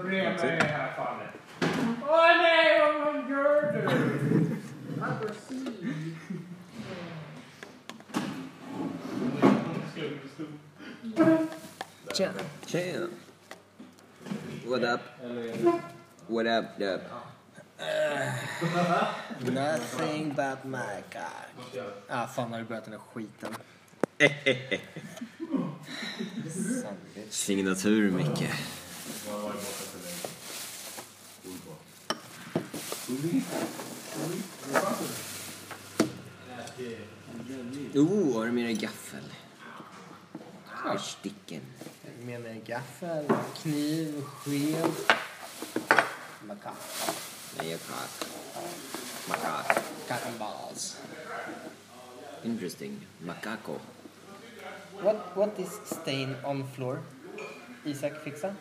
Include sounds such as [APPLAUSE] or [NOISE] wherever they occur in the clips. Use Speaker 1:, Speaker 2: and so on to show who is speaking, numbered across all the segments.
Speaker 1: That's it.
Speaker 2: Oh,
Speaker 3: Åh nej, vad man gör du?
Speaker 4: Upper C.
Speaker 5: Tjena.
Speaker 1: Tjena! What up? What up, dub?
Speaker 5: Nothing but my cock. Ah, fan har du börjat den här skiten? Fan, det är
Speaker 1: Signatur, Micke. Oh, har du med dig gaffel? För sticken.
Speaker 5: Med mig gaffel, kniv, sked. Macaque.
Speaker 1: Nej, jag kak. Makak.
Speaker 5: Cackenballs.
Speaker 1: Interesting. Makako.
Speaker 5: What, what is stain on floor? Isak fixa?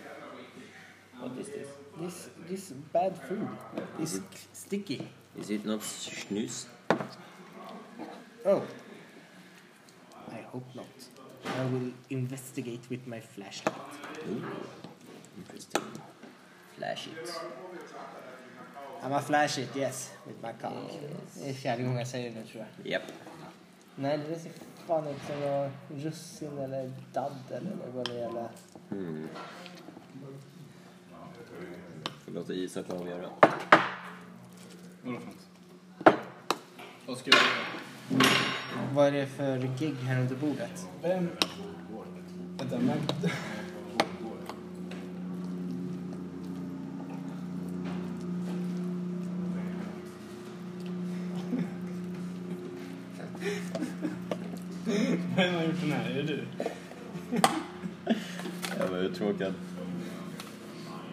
Speaker 1: What is this?
Speaker 5: This, this bad food is sticky.
Speaker 1: Is it not snus?
Speaker 5: Oh. I hope not. I will investigate with my flashlight.
Speaker 1: Ooh. Interesting. Flash it.
Speaker 5: I'm a flash it, yes. With my cock. Det är fjärde gången jag säger det nu tror jag.
Speaker 1: Japp.
Speaker 5: Nej, det ser fan ut som några russin eller daddel eller vad det gäller.
Speaker 1: Får låta Isak avgöra.
Speaker 2: Vad ska jag göra?
Speaker 5: Vad är det för gig här under bordet?
Speaker 2: Vem? Vänta, men... Vem har gjort den här? Är det du?
Speaker 1: Jag var uttråkad.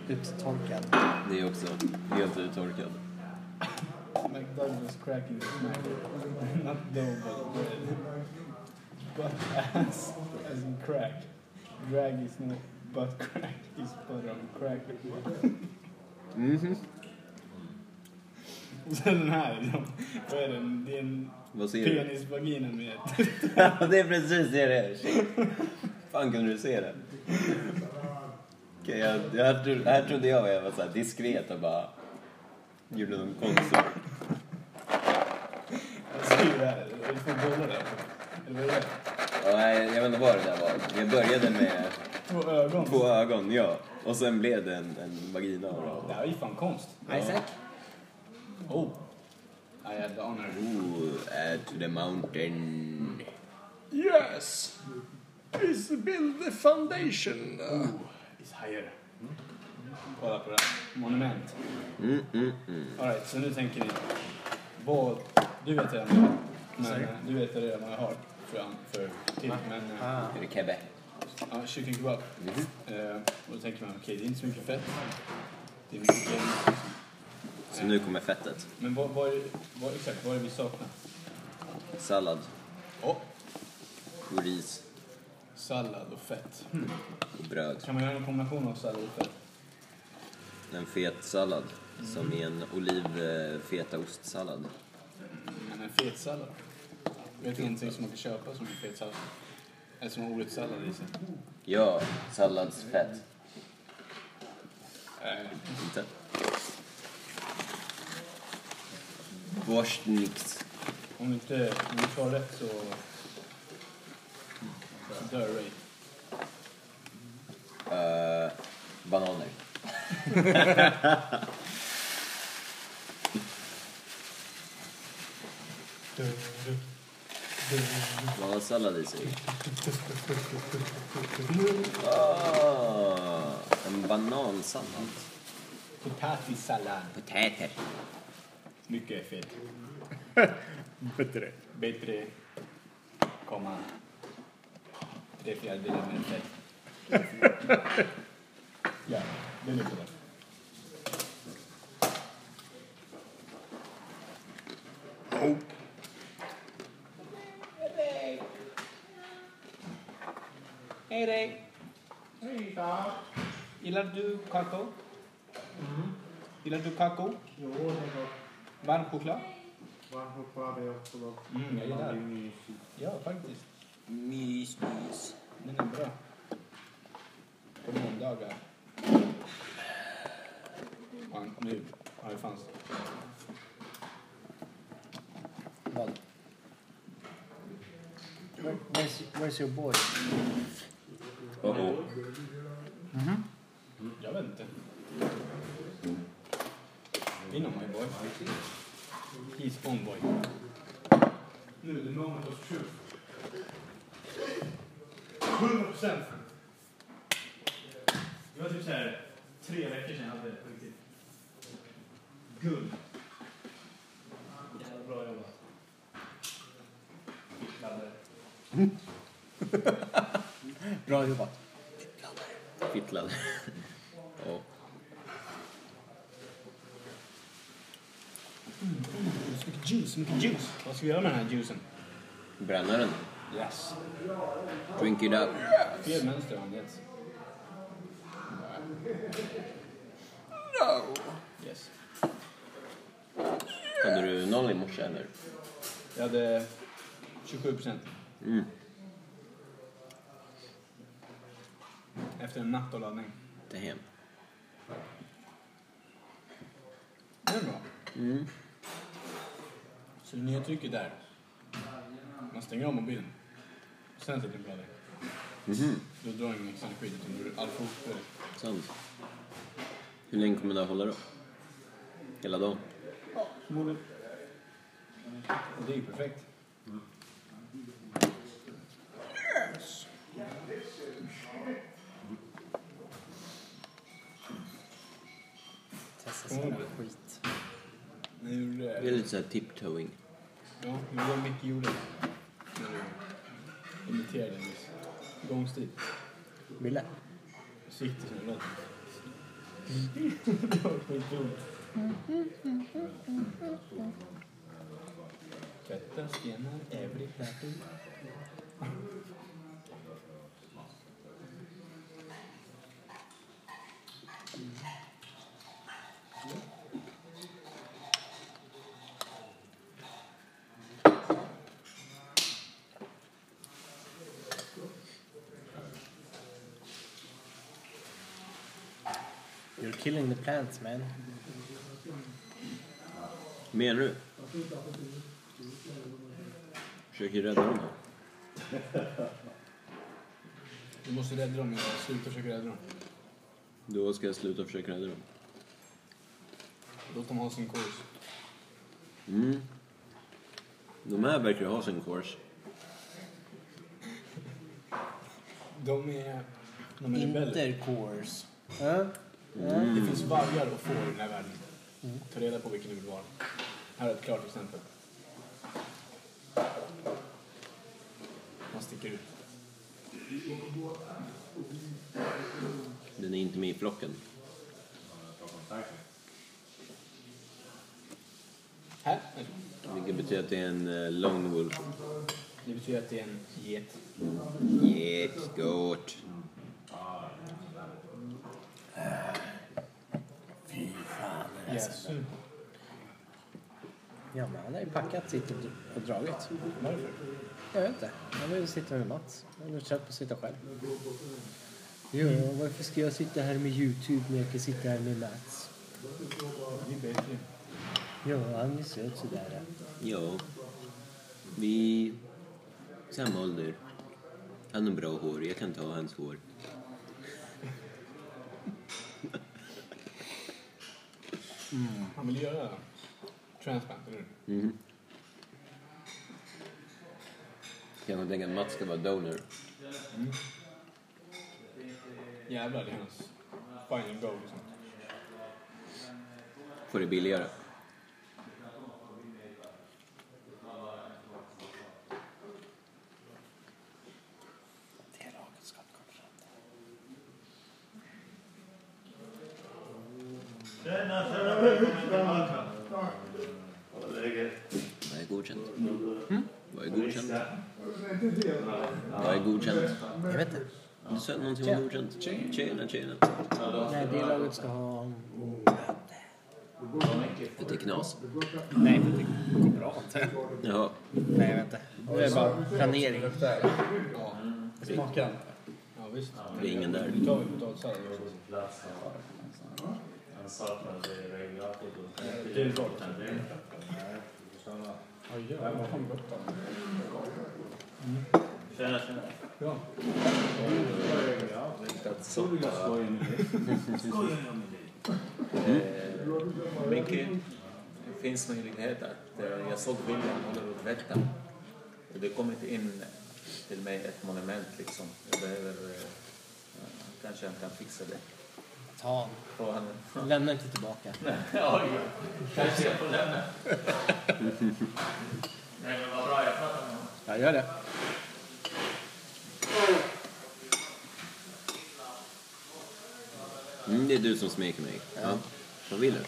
Speaker 5: Uttorkad.
Speaker 1: Det är också. Helt uttorkad.
Speaker 2: McDonalds cracking smack. Not dough, but bread. But ass as in crack. Drag is not butt crack, is butt on crack. [LAUGHS]
Speaker 1: Mhm.
Speaker 2: Och sen den här liksom. Vad är den? Det är en
Speaker 1: Vad ser [LAUGHS] du?
Speaker 2: penisvagina med [LAUGHS] ett
Speaker 1: det är precis det det är. Shit. fan kunde du se det? Okej, jag, jag, här tro- här trodde jag jag var så här diskret och bara gjorde någon konstig...
Speaker 2: skriv här. Du får bollar där. Eller vad är det?
Speaker 1: Ja, nej, jag vet inte vad det där var. Jag började med
Speaker 2: Två ögon.
Speaker 1: två ögon, ja. Och sen blev det en, en vagina av
Speaker 2: Det
Speaker 1: det.
Speaker 2: här är ju fan konst.
Speaker 5: Isaac?
Speaker 2: Oh. I had the honor.
Speaker 1: Ooh, add Oh, to the mountain.
Speaker 6: Yes! Please build the foundation. Uh,
Speaker 2: It's higher. Mm. Kolla på det här. Monument.
Speaker 1: Mm, mm, mm.
Speaker 2: Alright, så nu tänker ni. Vad... Du vet redan men, eh, Du vet redan vad jag har för, för till. Men eh,
Speaker 5: Ah.
Speaker 1: Är det kebbe?
Speaker 2: ja, kycklingkebab.
Speaker 1: Mhm.
Speaker 2: Eh, och då tänker man, okej det är inte så mycket fett. Det är mycket protein.
Speaker 1: Så nu kommer fettet.
Speaker 2: Men vad, vad, är det- vad, exakt, vad är det vi saknar?
Speaker 1: Sallad
Speaker 2: Oh.
Speaker 1: och ris
Speaker 2: Sallad och fett.
Speaker 1: och bröd.
Speaker 2: Mm. Kan man göra en kombination av sallad och fett?
Speaker 1: En fet sallad som är en oliv eh, fetaostsallad.
Speaker 2: Men en fetsallad? Vet du någonting som man kan köpa som en fetsallad? Eller som har ordet sallad i sig?
Speaker 1: Ja, salladsfett.
Speaker 2: Eh,
Speaker 1: Inte? Borstnix.
Speaker 2: om inte om vi tar rätt så... så dör Ray.
Speaker 1: eh, bananer. Man har sallad i sig. Ah, en banansallad.
Speaker 2: Potatissallad.
Speaker 1: Potäter.
Speaker 2: Mycket fett. [LAUGHS] Bättre. Bättre. Komma. Tre fjärdedelar mer fett. [LAUGHS] ja, det är mycket bra.
Speaker 3: Hej dig.
Speaker 4: Hej då.
Speaker 2: Gillar du kakao? Mm. Gillar du kakao?
Speaker 4: Jo, det är gott.
Speaker 2: Varm choklad?
Speaker 4: Varm choklad är också gott.
Speaker 2: Mm, jag
Speaker 4: Man
Speaker 2: gillar
Speaker 4: blir
Speaker 2: det.
Speaker 4: mysig.
Speaker 2: Ja, faktiskt.
Speaker 1: Mys, mys.
Speaker 2: Den är bra. På måndagar. Nu. Ja, det fanns.
Speaker 5: Vad? Where, where's, where's your boy?
Speaker 1: Oh-oh.
Speaker 2: Jag vet inte. You know my boy. He's on boy. Nu, the moment of truth. 100 procent. Det var typ såhär tre veckor sedan jag hade det på riktigt. Guld. Jävla bra jobbat. Laddare.
Speaker 5: Bra jobbat.
Speaker 1: [LAUGHS] Fittlad. Ja.
Speaker 2: Så mycket juice, så mycket juice. Vad ska vi göra med den här juicen?
Speaker 1: Bränna den.
Speaker 2: Yes.
Speaker 1: Drink it up.
Speaker 2: Fel mönster har han gett.
Speaker 6: No.
Speaker 2: Yes.
Speaker 1: Hade du noll i morse eller?
Speaker 2: Jag hade 27 procent.
Speaker 1: Mm.
Speaker 2: Efter en natt av laddning.
Speaker 1: Damn.
Speaker 2: Det är bra. Så det nya trycket där. Man stänger av mobilen. Sen sätter du på laddning.
Speaker 1: Mhm.
Speaker 2: Då drar den extra energi utan du all fokus.
Speaker 1: Sant. Hur länge kommer det att hålla då? Hela dagen?
Speaker 2: Förmodligen. Och det är ju perfekt.
Speaker 5: Testa sån här skit.
Speaker 2: Nu gjorde
Speaker 1: Det är lite såhär tiptoeing.
Speaker 2: Ja, men det var Micke gjorde. När du imiterade en viss gångstil.
Speaker 5: Ville?
Speaker 2: Så gick det som det låter. Det var skitroligt. Tvätta stenar, every battle.
Speaker 5: You're killing the plants man.
Speaker 1: Menar du? Försöker rädda dem här.
Speaker 2: Du måste rädda dem, Jonas. Sluta försöka rädda dem.
Speaker 1: Då ska jag sluta försöka rädda dem.
Speaker 2: Låt dem ha sin kurs.
Speaker 1: Mm. De här verkar ha sin course.
Speaker 2: De är... De är rebeller.
Speaker 5: Intercourse. Ja? Ja?
Speaker 2: Det finns vargar och får i den här världen. Ta reda på vilken du vill vara. Här är ett klart exempel. Man sticker ut.
Speaker 1: Den är inte med i flocken.
Speaker 2: Här?
Speaker 1: Vilket betyder att det är en eh, lone wolf.
Speaker 2: Det betyder att det är en get.
Speaker 1: Yes, gott.
Speaker 2: Yes.
Speaker 5: Ja, men han har ju packat sitt och och dragit.
Speaker 2: Varför?
Speaker 5: Jag vet inte. Han vill sitta med Mats. Han är trött på att sitta själv. Jo, varför ska jag sitta här med Youtube när jag kan sitta här med Mats?
Speaker 2: Det är bättre.
Speaker 5: Jo, han är söt sådär.
Speaker 1: Ja. Vi... Samma ålder. Han har bra hår. Jag kan ta hans hår.
Speaker 2: Han vill göra transplant, eller hur?
Speaker 1: Mhm. Kanske tänka att Mats ska vara donor.
Speaker 2: Jävlar, det är hans final goal. Liksom.
Speaker 1: Får det billigare.
Speaker 5: Det laget ska inte komma fram.
Speaker 1: Vad är godkänt? Hm? Vad är godkänt? Vad är godkänt?
Speaker 5: Jag vet inte.
Speaker 1: Du sa någonting om godkänt. Tjena, tjena.
Speaker 5: Nej, det laget ska ha...
Speaker 1: För att det är knas.
Speaker 5: Nej, men det går bra inte.
Speaker 1: Jaha.
Speaker 5: Nej, jag vet inte. Det är bara planering.
Speaker 2: Smakar Ja, visst.
Speaker 1: Det är ingen där.
Speaker 2: Nu tar vi potatissallad.
Speaker 7: Han saknade regulator.
Speaker 2: det är bra.
Speaker 7: Nej,
Speaker 2: Ja, jävlar. Fan, gott då.
Speaker 7: Tjena, tjena.
Speaker 2: Ja.
Speaker 7: Jag skojar med dig. Skojar med dig.
Speaker 8: Eh, Mm. Micke, det finns möjlighet att eh, jag såg William hålla på att tvätta. Och det kommit in till mig ett monument liksom. Jag behöver, eh, ja, kanske han kan fixa det.
Speaker 5: Ta han.
Speaker 8: Och han,
Speaker 5: Lämna inte tillbaka.
Speaker 8: ja, ja. kanske jag får lämna.
Speaker 7: Nej, men vad bra. Jag pratar med honom.
Speaker 5: Jag gör det.
Speaker 1: Mm, det är du som smeker mig. Ja. Vad vill du?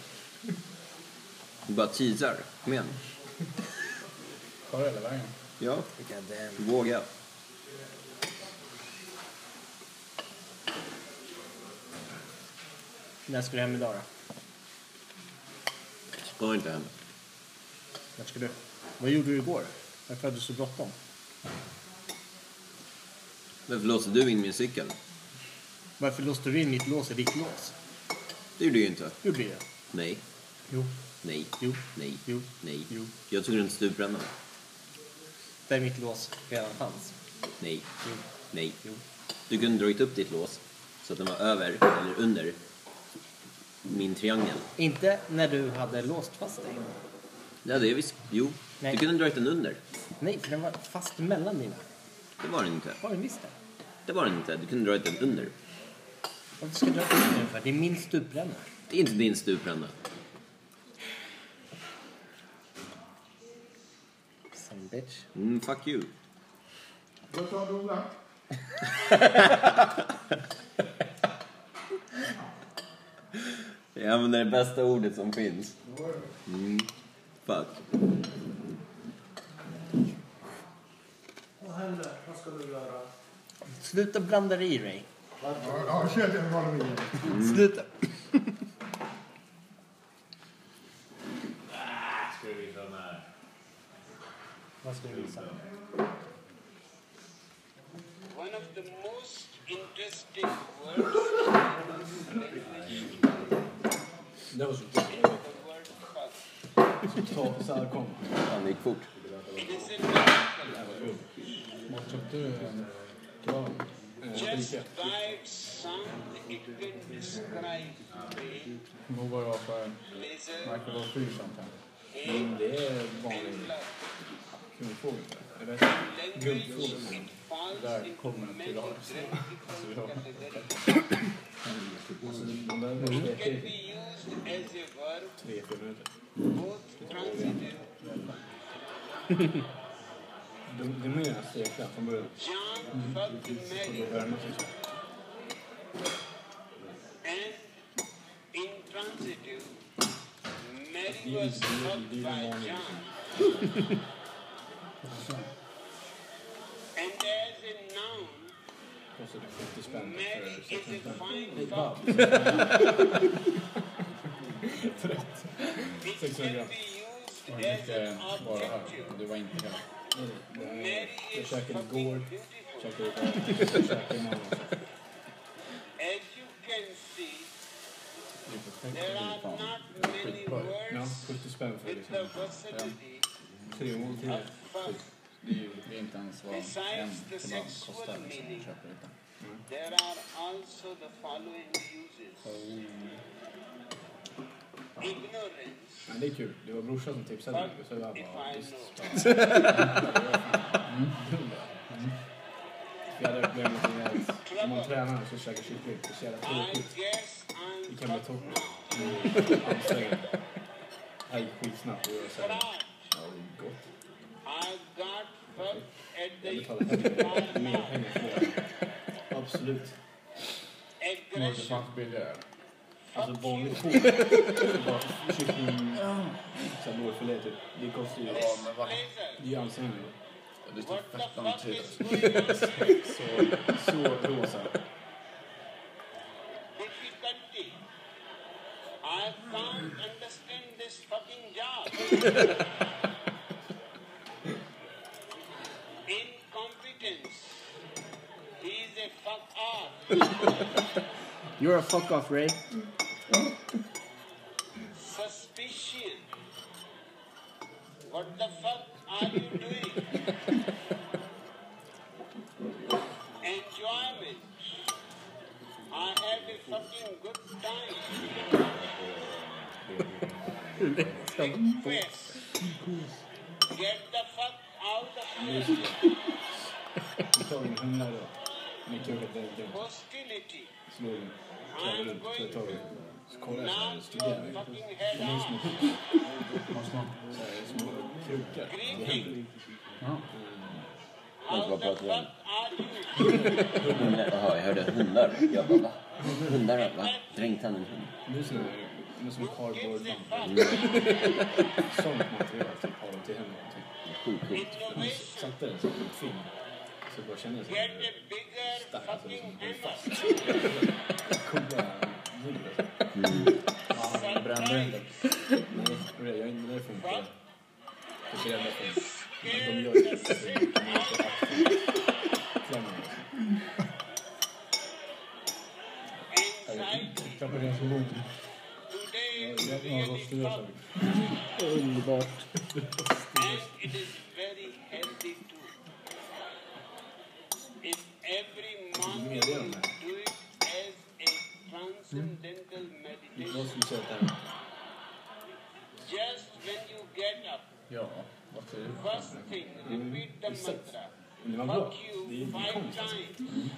Speaker 1: Du bara teasar. Kom igen.
Speaker 2: Tar hela vägen.
Speaker 1: Ja,
Speaker 5: Vilka den.
Speaker 1: våga.
Speaker 5: När ska du hem idag då?
Speaker 1: Gå inte hem.
Speaker 5: När ska du? Vad gjorde du igår? Varför hade du så bråttom?
Speaker 1: Varför låser du in min cykel?
Speaker 5: Varför låste du in mitt lås i ditt lås?
Speaker 1: Det gjorde jag inte.
Speaker 5: Jo, blir det.
Speaker 1: Nej,
Speaker 5: Jo,
Speaker 1: nej,
Speaker 5: jo,
Speaker 1: nej,
Speaker 5: jo.
Speaker 1: nej.
Speaker 5: Jo.
Speaker 1: Jag tog runt stuprännan.
Speaker 5: Där mitt lås redan fanns. Mm.
Speaker 1: Nej,
Speaker 5: Jo,
Speaker 1: nej.
Speaker 5: jo.
Speaker 1: Du kunde dragit upp ditt lås så att den var över eller under min triangel.
Speaker 5: Inte när du hade låst fast dig.
Speaker 1: Ja, det är visst. Jo,
Speaker 5: Nej.
Speaker 1: du kunde dragit den under.
Speaker 5: Nej, för den var fast mellan dina.
Speaker 1: Det var den inte.
Speaker 5: Var den visst det?
Speaker 1: Det var den inte. Du kunde dragit den under.
Speaker 5: Varför ska du dra upp den för? Det är min stupränna.
Speaker 1: Det är inte din stupränna.
Speaker 5: Son bitch.
Speaker 1: Mm, fuck you.
Speaker 4: Vad sa du Ola?
Speaker 1: Jag använder det bästa ordet som finns. Mm, fuck.
Speaker 4: Vad hände? Vad ska du göra?
Speaker 5: Sluta blanda dig i dig.
Speaker 1: Oh,
Speaker 4: Ja, kör den var igen.
Speaker 5: [LAUGHS] Sluta.
Speaker 7: Ska vi visa den här?
Speaker 5: Vad ska du visa?
Speaker 9: one of the most interesting words
Speaker 2: Det var så
Speaker 9: in the word fuck.
Speaker 2: Ta, så här kom.
Speaker 1: Fan, det gick fort.
Speaker 9: It is in the
Speaker 2: Var köpte du en krav?
Speaker 9: just by its sound it can describe pain,
Speaker 2: Nog bara för
Speaker 9: pleasure,
Speaker 2: Michael och Fyrsamt här.
Speaker 9: hate,
Speaker 2: Mm, Det är
Speaker 9: and
Speaker 2: vanlig
Speaker 9: love.
Speaker 2: kronfågel. Jag vet inte.
Speaker 9: Language it falls
Speaker 2: Där
Speaker 9: into
Speaker 2: kommer den
Speaker 9: many
Speaker 2: till
Speaker 9: graphical
Speaker 2: oss.
Speaker 9: categories.
Speaker 2: Alltså, de där
Speaker 9: It
Speaker 2: verkar
Speaker 9: can
Speaker 2: i
Speaker 9: be used as a verb,
Speaker 2: tre, fyra minuter.
Speaker 9: both transitive.
Speaker 2: De, de är mer stekta från början.
Speaker 9: John fucking Mary
Speaker 2: Värme kanske.
Speaker 9: and intransitive. Mary
Speaker 2: Even
Speaker 9: was
Speaker 2: Judy
Speaker 9: fucked
Speaker 2: didn't
Speaker 9: by
Speaker 2: want it.
Speaker 9: John. and as a noun,
Speaker 2: Kostade 70 spänn
Speaker 9: Mary
Speaker 2: för
Speaker 9: is a
Speaker 2: 16 spänn.
Speaker 9: fine fuck.
Speaker 2: Förrätt. 600
Speaker 9: It can
Speaker 2: gram.
Speaker 9: be used
Speaker 2: Det
Speaker 9: as an
Speaker 2: ska bara här.
Speaker 9: objective.
Speaker 2: Det var inte hela.
Speaker 9: Mary
Speaker 2: Jag
Speaker 9: is
Speaker 2: käkade
Speaker 9: fucking
Speaker 2: igår.
Speaker 9: beautiful.
Speaker 2: Käkade idag. Käkade imorgon.
Speaker 9: As you can see,
Speaker 2: Det är perfekt. Det
Speaker 9: there
Speaker 2: är
Speaker 9: are
Speaker 2: fan
Speaker 9: not many
Speaker 2: skitbra. Ja,
Speaker 9: words
Speaker 2: 70 spänn för det.
Speaker 9: with the
Speaker 2: liksom. Ja.
Speaker 9: versatility
Speaker 2: Tre måltider.
Speaker 9: of fuck.
Speaker 2: Det är ju det är inte ens vad en
Speaker 9: Besides the
Speaker 2: kebab
Speaker 9: sexual
Speaker 2: kostar. Liksom.
Speaker 9: meaning.
Speaker 2: Jag köper inte.
Speaker 9: There are also the following uses. Ignorance.
Speaker 2: Men det är kul. Det var brorsan som tipsade mig. Så jag bara, visst. Vi hade ett problem med att om man tränar så käkar kyckling. Det är så jävla
Speaker 9: I
Speaker 2: tråkigt.
Speaker 9: guess
Speaker 2: Det
Speaker 9: I'm
Speaker 2: kan bli
Speaker 9: fucked
Speaker 2: torrt.
Speaker 9: now.
Speaker 2: Ansträngande. Nej, skitsnabbt. Det var så här,
Speaker 9: Proud.
Speaker 2: ja, det är gott.
Speaker 9: I got fucked at
Speaker 2: Jag
Speaker 9: the
Speaker 2: betalar hellre mer pengar för det. Absolut. Det var
Speaker 9: aggression.
Speaker 2: fan billigare. Alltså vanligt kol. Bara Kyckling... Såhär lårfilé typ. Det kostar ju...
Speaker 9: Displeasure.
Speaker 2: Det är ju ansträngande.
Speaker 9: What the fuck is going on here?
Speaker 2: Så, eh, så rosa.
Speaker 9: Difficulty. I can't understand this fucking job. Incompetence. He is a fuck off.
Speaker 5: You're a fuck off Ray.
Speaker 9: Suspicion. What the fuck are you doing? Enjoyment. I had a fucking good time. Request. Get the fuck out of here.
Speaker 2: Tagen hamnar då. Mitt öga där.
Speaker 9: Hostility.
Speaker 2: Slår in. Tar runt. Så tar vi. Så kollar jag så här.
Speaker 9: Knock
Speaker 2: Studerar.
Speaker 9: your fucking head off.
Speaker 2: Har små så här små krokar.
Speaker 9: Greeting.
Speaker 7: Ja.
Speaker 9: How the fuck are you?
Speaker 1: Hundar. Jaha, jag hörde hundar. Jag bara, va? Hundar, va? Dränkt han en hund?
Speaker 2: Nu ser det ut som
Speaker 9: Gives a
Speaker 2: cardboard.
Speaker 9: fuck.
Speaker 2: Sånt material. Typ har de till henne. Typ.
Speaker 1: Sjukt coolt.
Speaker 9: Innovation.
Speaker 2: Satte den som ett film. Så bara kände jag så
Speaker 9: Get
Speaker 2: här.
Speaker 9: a bigger fucking hammer.
Speaker 2: Coola ljudet.
Speaker 9: Mm.
Speaker 2: Nej,
Speaker 9: Sometimes
Speaker 2: det är inte därför inte. Det är därför de gör
Speaker 9: scared
Speaker 2: det.
Speaker 9: the shit
Speaker 2: De är så aktiva. Klämmer mig. Oh,
Speaker 9: anxiety.
Speaker 2: Tappar deras ord.
Speaker 9: Today is
Speaker 2: Jag har
Speaker 9: really
Speaker 2: gått förlorad.
Speaker 9: tough
Speaker 5: Underbart.
Speaker 9: and it is very healthy too. If every morning you do it as a transcendental meditation,
Speaker 2: Jag skulle säga att det här...
Speaker 9: just when you get up,
Speaker 2: Ja, varför är det?
Speaker 9: first thing, repeat the mantra.
Speaker 2: Men det var bra.
Speaker 9: Fuck
Speaker 2: Det är
Speaker 9: you
Speaker 2: inte
Speaker 9: five
Speaker 2: konst alltså.
Speaker 9: times.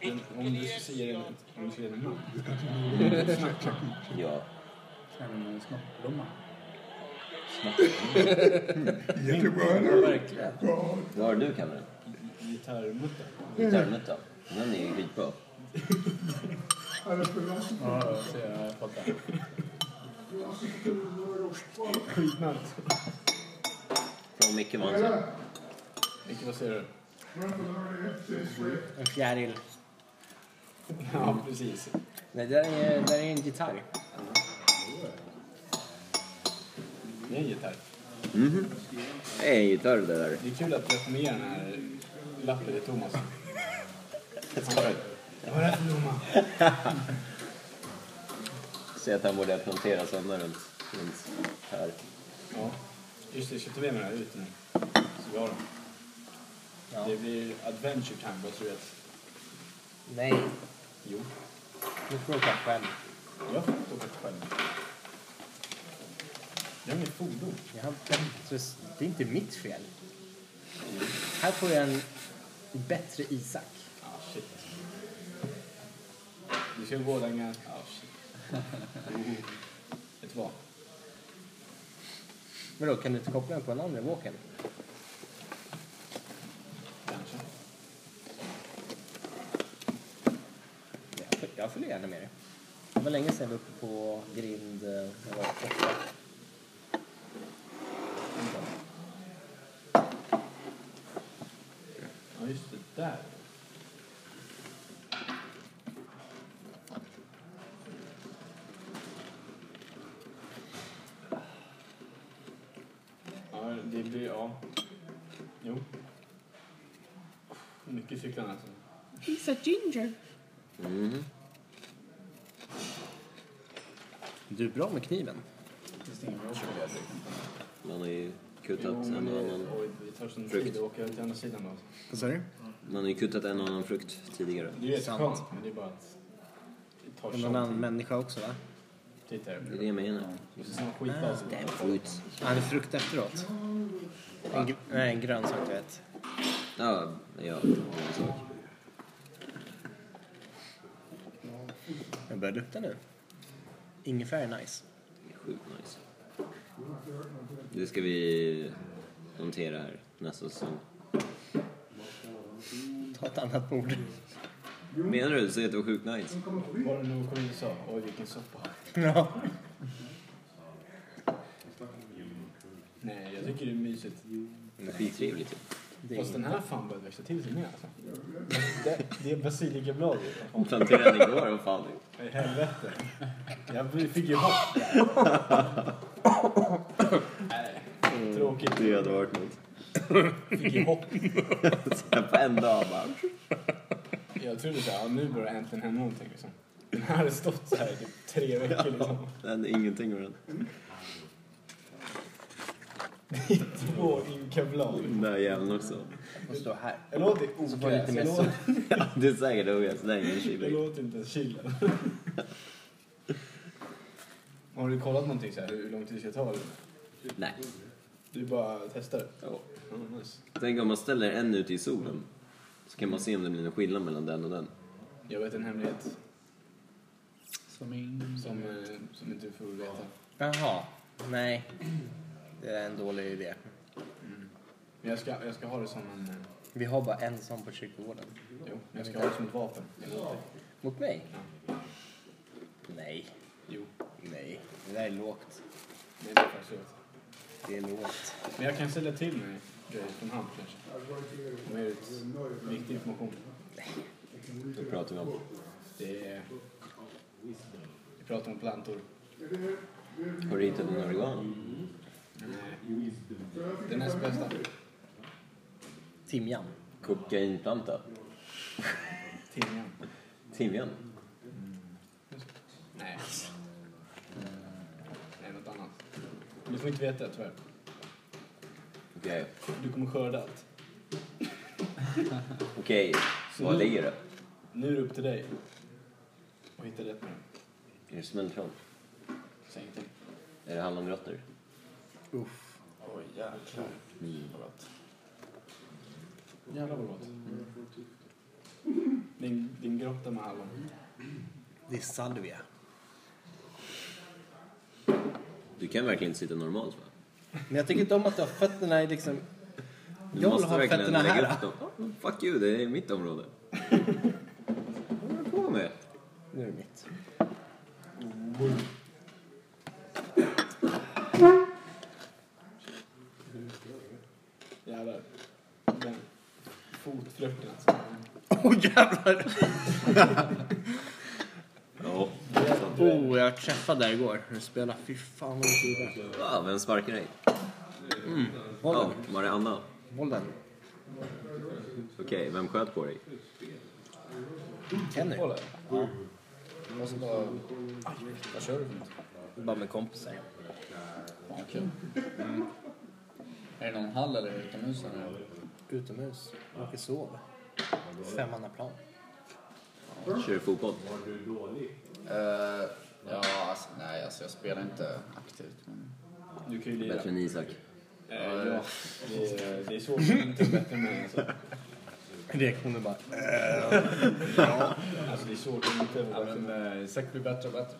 Speaker 2: Men om du ska säga det om du säger det nu.
Speaker 1: Ja.
Speaker 7: En snoppblomma.
Speaker 4: Jättebra. eller?
Speaker 1: Verkligen. Vad har du, Cameron?
Speaker 2: Gitarrmutta.
Speaker 1: Gitarrmutta. Den är ju skitbra.
Speaker 4: Ja, det skulle vara så.
Speaker 7: Ja, jag ser, jag fattar.
Speaker 2: Skitnallt.
Speaker 1: Från Micke Månsson.
Speaker 2: Micke, vad säger du?
Speaker 5: En fjäril.
Speaker 2: Ja, precis.
Speaker 5: Nej, det där är, det där är en gitarr.
Speaker 2: Det är en gitarr.
Speaker 1: Det är en gitarr det där.
Speaker 2: Det är kul att reformera den här lappen till Thomas. Vad är det för blomma?
Speaker 1: Säg att han borde plantera sådana runt, runt här.
Speaker 2: Ja, just det. Jag köpte med mig den här ut nu. Så vi har den. Det blir adventure time, vad tror du att...
Speaker 5: Nej,
Speaker 2: Jo,
Speaker 5: nu får du åka själv.
Speaker 2: jag får inte åka själv. Det är mitt fordon.
Speaker 5: Jag har bättre, det är inte mitt fel. Här får jag en bättre Isak.
Speaker 2: Ah, shit. Du ska gå den här... Ah, shit. Jo. Vet du vad?
Speaker 5: Men då kan du inte koppla den på en annan walken?
Speaker 2: Kanske.
Speaker 5: Jag, föl- jag följer gärna med dig. Det var länge sedan jag var uppe på grind eh, när jag var åtta.
Speaker 2: Ja, just det. Där. Ja, det blir... Ja. Jo. Mycket cyklarna alltså.
Speaker 3: He's a ginger.
Speaker 5: Du är bra med kniven.
Speaker 2: Finns det ingen bra cykel?
Speaker 1: Man har ju
Speaker 2: Jo,
Speaker 1: kutat
Speaker 2: men
Speaker 1: en och
Speaker 2: det-
Speaker 1: annan,
Speaker 2: oj, det tar sån
Speaker 1: frukt.
Speaker 2: tid att åka ut till andra sidan då.
Speaker 5: Vad sa du?
Speaker 1: man har ju kutat en och annan frukt tidigare.
Speaker 2: Det är ju rätt
Speaker 5: Sant.
Speaker 2: skönt, men det är bara att... Det tar
Speaker 5: En
Speaker 2: sån
Speaker 5: annan
Speaker 2: tid.
Speaker 5: människa också va?
Speaker 2: Titta här.
Speaker 1: Det är det jag menar.
Speaker 2: Det är alltså. sån
Speaker 5: Ah,
Speaker 2: skitbas.
Speaker 1: Damn fruits.
Speaker 5: Han är Ah. frukt efteråt. En, gr- nej, en grönsak du vet.
Speaker 1: Ja, ja, det är en sak.
Speaker 5: Jag börjar lukta nu. Ingefära är nice.
Speaker 1: Det är Sjukt nice. Det ska vi notera här nästa säsong.
Speaker 5: Ta ett annat bord.
Speaker 1: Menar du? Du säger att det var sjukt nice.
Speaker 2: Var det någon kommun sa? Oj, vilken soppa.
Speaker 5: [LAUGHS] Ja.
Speaker 2: Nej, jag tycker det är mysigt.
Speaker 1: Det är skittrevligt typ. ju.
Speaker 5: Det är
Speaker 2: Fast den här fan börjar växa till sig mer alltså. Det, det är basilikablad ju.
Speaker 1: Hon planterade den igår, vad fan.
Speaker 2: I helvete. Jag fick ju bort det. Nej, Tråkigt.
Speaker 1: Det hade varit något.
Speaker 2: Fick ju hopp.
Speaker 1: [LAUGHS] Så här på en dag bara.
Speaker 2: Jag trodde såhär, ja, nu börjar det äntligen hända någonting liksom. Den hade stått så här i typ tre veckor liksom.
Speaker 1: Det hände ingenting med den.
Speaker 2: Två inkavlar.
Speaker 1: Den där jäveln också.
Speaker 5: Och stå här.
Speaker 2: Jag låter det
Speaker 5: Så får jag
Speaker 2: ogräs.
Speaker 5: lite
Speaker 2: Jag
Speaker 5: mer
Speaker 2: låter-
Speaker 1: [LAUGHS] Ja, det är säkert ogräs. Det är ingen
Speaker 2: jag
Speaker 1: chili.
Speaker 2: låter inte ens chillen. [LAUGHS] Har du kollat någonting så här hur lång tid det ska ta? eller?
Speaker 1: Nej.
Speaker 2: Du bara testar?
Speaker 1: Ja.
Speaker 2: Mm, nice.
Speaker 1: Tänk om man ställer en ute i solen. Så kan man se om det blir någon skillnad mellan den och den.
Speaker 2: Jag vet en hemlighet
Speaker 7: Som in...
Speaker 2: som, eh, som inte du får veta.
Speaker 5: Jaha. Nej. Det är en dålig idé.
Speaker 2: Men jag ska, jag ska ha det som en... eh,
Speaker 5: Vi har bara en sån på kyrkogården.
Speaker 2: Jo, jag ska ha det som ett vapen. emot dig.
Speaker 5: Mot mig? Nej.
Speaker 2: Jo,
Speaker 5: Nej. Det där är lågt.
Speaker 2: det är det faktiskt. jag vet.
Speaker 5: Det är lågt.
Speaker 2: Men jag kan sälja till mig grejer från han kanske. Om jag är ut viktig information.
Speaker 1: Det pratar vi om.
Speaker 2: Det är... Vi pratar om plantor.
Speaker 1: Har du hittat en organ?
Speaker 2: Nej. eh, Den näst bästa.
Speaker 5: Timjan.
Speaker 1: Kokainplanta?
Speaker 2: Timjan.
Speaker 1: Timjan?
Speaker 2: Nej. Nej, något annat. Eh. Du får inte veta tyvärr.
Speaker 1: Okej.
Speaker 2: Du kommer skörda allt.
Speaker 1: Okej. Var ligger det?
Speaker 2: Nu är det upp till dig att hitta rätt med den.
Speaker 1: Är det smultron?
Speaker 2: Säg inte.
Speaker 1: Är det hallonrötter?
Speaker 2: Oj, jäklar.
Speaker 1: Mm.
Speaker 2: Vad gott. Jävlar vad gott. Din, din grotta med hallon.
Speaker 5: Det är salvia.
Speaker 1: Du kan verkligen inte sitta normalt va?
Speaker 5: Men jag tycker inte om att du har fötterna i liksom...
Speaker 1: Du
Speaker 5: Jag vill
Speaker 1: måste
Speaker 5: ha
Speaker 1: verkligen
Speaker 5: fötterna
Speaker 1: lägga
Speaker 5: här.
Speaker 1: upp dem. Oh, fuck you, det är mitt område. Vad håller du på med?
Speaker 5: Nu är det mitt. [LAUGHS]
Speaker 2: Jävlar. Den fotflörten alltså.
Speaker 5: Åh oh, jävlar!
Speaker 1: Ja.
Speaker 5: Oh, jag träffade där igår. Jag spelade. Fy fan vad mycket det var.
Speaker 1: Ah, vem sparkar dig? Ja,
Speaker 5: Bollen.
Speaker 1: var det Anna?
Speaker 5: Bollen.
Speaker 1: Okej, vem sköt på dig?
Speaker 5: Kenny.
Speaker 2: Kolla.
Speaker 5: Jag måste bara...
Speaker 2: Vad kör du för något?
Speaker 5: Bara med kompisar.
Speaker 7: Ja, kul. Mm. Är det någon hall eller är det utomhus? Eller?
Speaker 5: Utomhus. Åker sov. Femmannaplan.
Speaker 1: Kör du fotboll?
Speaker 7: Eh, ja, alltså, nej, alltså, jag spelar inte aktivt. Men,
Speaker 2: Du kan ju lira.
Speaker 1: Bättre än Isak.
Speaker 2: Eh, ja, det, är- det är svårt att inte bättre än mig. Alltså.
Speaker 5: Reaktionen bara...
Speaker 2: alltså det är svårt att inte vara bättre än mig.
Speaker 7: men eh, säkert blir bättre och bättre.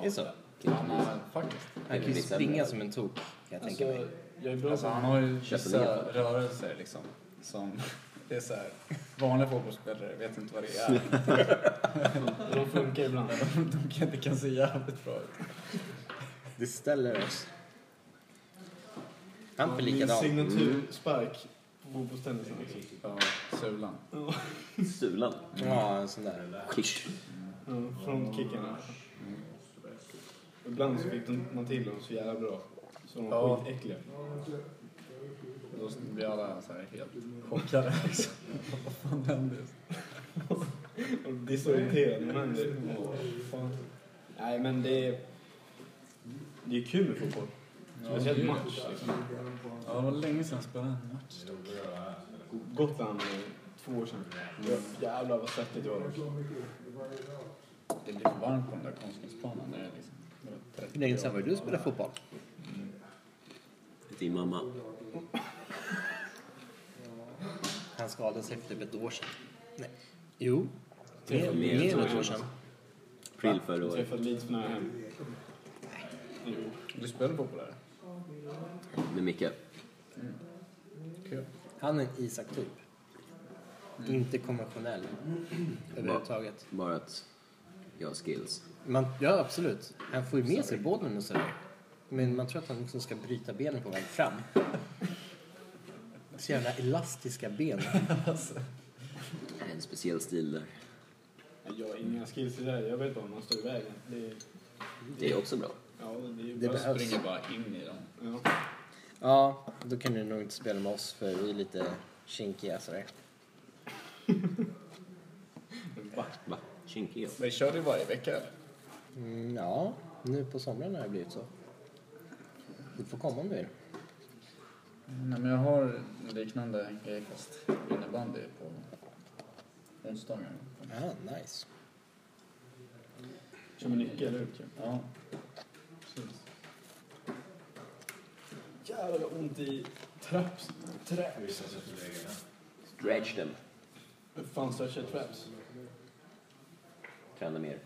Speaker 5: Det är så.
Speaker 7: Ja, men, faktiskt.
Speaker 5: Han kan ju springa som en tok. Kan jag tänka mig.
Speaker 2: Alltså, jag är bra
Speaker 7: Alltså,
Speaker 2: på...
Speaker 7: han har ju
Speaker 1: Köper ner
Speaker 7: vissa
Speaker 1: på
Speaker 7: rörelser liksom. Som [LAUGHS] det är så här, vanliga fotbollsspelare vet inte vad det är. [LAUGHS]
Speaker 2: De funkar ibland.
Speaker 7: De kan, det kan se jävligt bra ut.
Speaker 5: Det ställer oss. Han är
Speaker 2: Min
Speaker 5: likadan.
Speaker 2: signaturspark på fotbollstennisen också.
Speaker 7: Ja, sulan.
Speaker 1: Sulan?
Speaker 5: Ja, en sån där.
Speaker 1: Kick.
Speaker 2: Ja, Frontkickarna. Ibland så fick de, man till dem så jävla bra. Så de var
Speaker 7: Ja.
Speaker 2: skitäckliga.
Speaker 7: Då blir alla så här helt chockade [LAUGHS] liksom. Vad fan hände just?
Speaker 2: Och disorienterade. Men
Speaker 7: [LAUGHS]
Speaker 2: det, åh, fan. Nej men det är... Det är kul med fotboll. Speciellt
Speaker 7: Ja,
Speaker 2: match. Liksom.
Speaker 7: Ja, det var länge sedan jag spelade en match.
Speaker 2: Gotland eh, två år sedan. Jag- Jävlar vad svettigt det var.
Speaker 7: Det blir för varmt på den där konstgräsplanen. Det är liksom det var
Speaker 5: Hur
Speaker 7: 30
Speaker 5: länge sedan var det du spelade fotboll?
Speaker 1: Till mamma.
Speaker 5: Han skadade sig för typ ett år sedan. Nej. Jo.
Speaker 1: Det
Speaker 5: Mer,
Speaker 1: var mer än
Speaker 5: mer än
Speaker 1: ett
Speaker 5: ett
Speaker 1: år
Speaker 5: år sedan.
Speaker 1: April förra
Speaker 2: Jag
Speaker 1: året.
Speaker 2: träffade Leeds för nära hem. Jo.
Speaker 7: Du spelar fotboll där?
Speaker 1: Med Micke.
Speaker 7: Kul.
Speaker 5: Han är en Isak-typ. Inte konventionell överhuvudtaget.
Speaker 1: Bara att jag har skills.
Speaker 5: Man, ja, absolut. Han får ju med sig bollen och sådär. Men man tror att han liksom ska bryta benen på väg fram. Så jävla elastiska ben.
Speaker 1: Det är En speciell stil där.
Speaker 2: Nej, Jag har inga skills i det här. Jag vet bara om man står i vägen. Det, är-
Speaker 1: Det är också bra.
Speaker 2: ja, det är ju
Speaker 5: Det
Speaker 2: bara...
Speaker 7: Jag
Speaker 5: behövs.
Speaker 7: springer bara in i dem.
Speaker 2: Ja.
Speaker 5: Ja, då kan du nog inte spela med oss för vi är lite kinkiga sådär.
Speaker 1: Va? kinkiga.
Speaker 7: Men kör du varje vecka eller?
Speaker 5: Mm, ja, nu på sommaren har det blivit så. Du får komma mer.
Speaker 7: Nej, men jag har en liknande grej fast innebandy på onsdagar.
Speaker 5: Ah, nice.
Speaker 2: Som en nyckel ut ju.
Speaker 7: Ja.
Speaker 2: Precis. Jävlar vad ont i traps. Traps.
Speaker 1: Stretch them.
Speaker 2: Hur fan stretchar traps?
Speaker 1: Träna mer.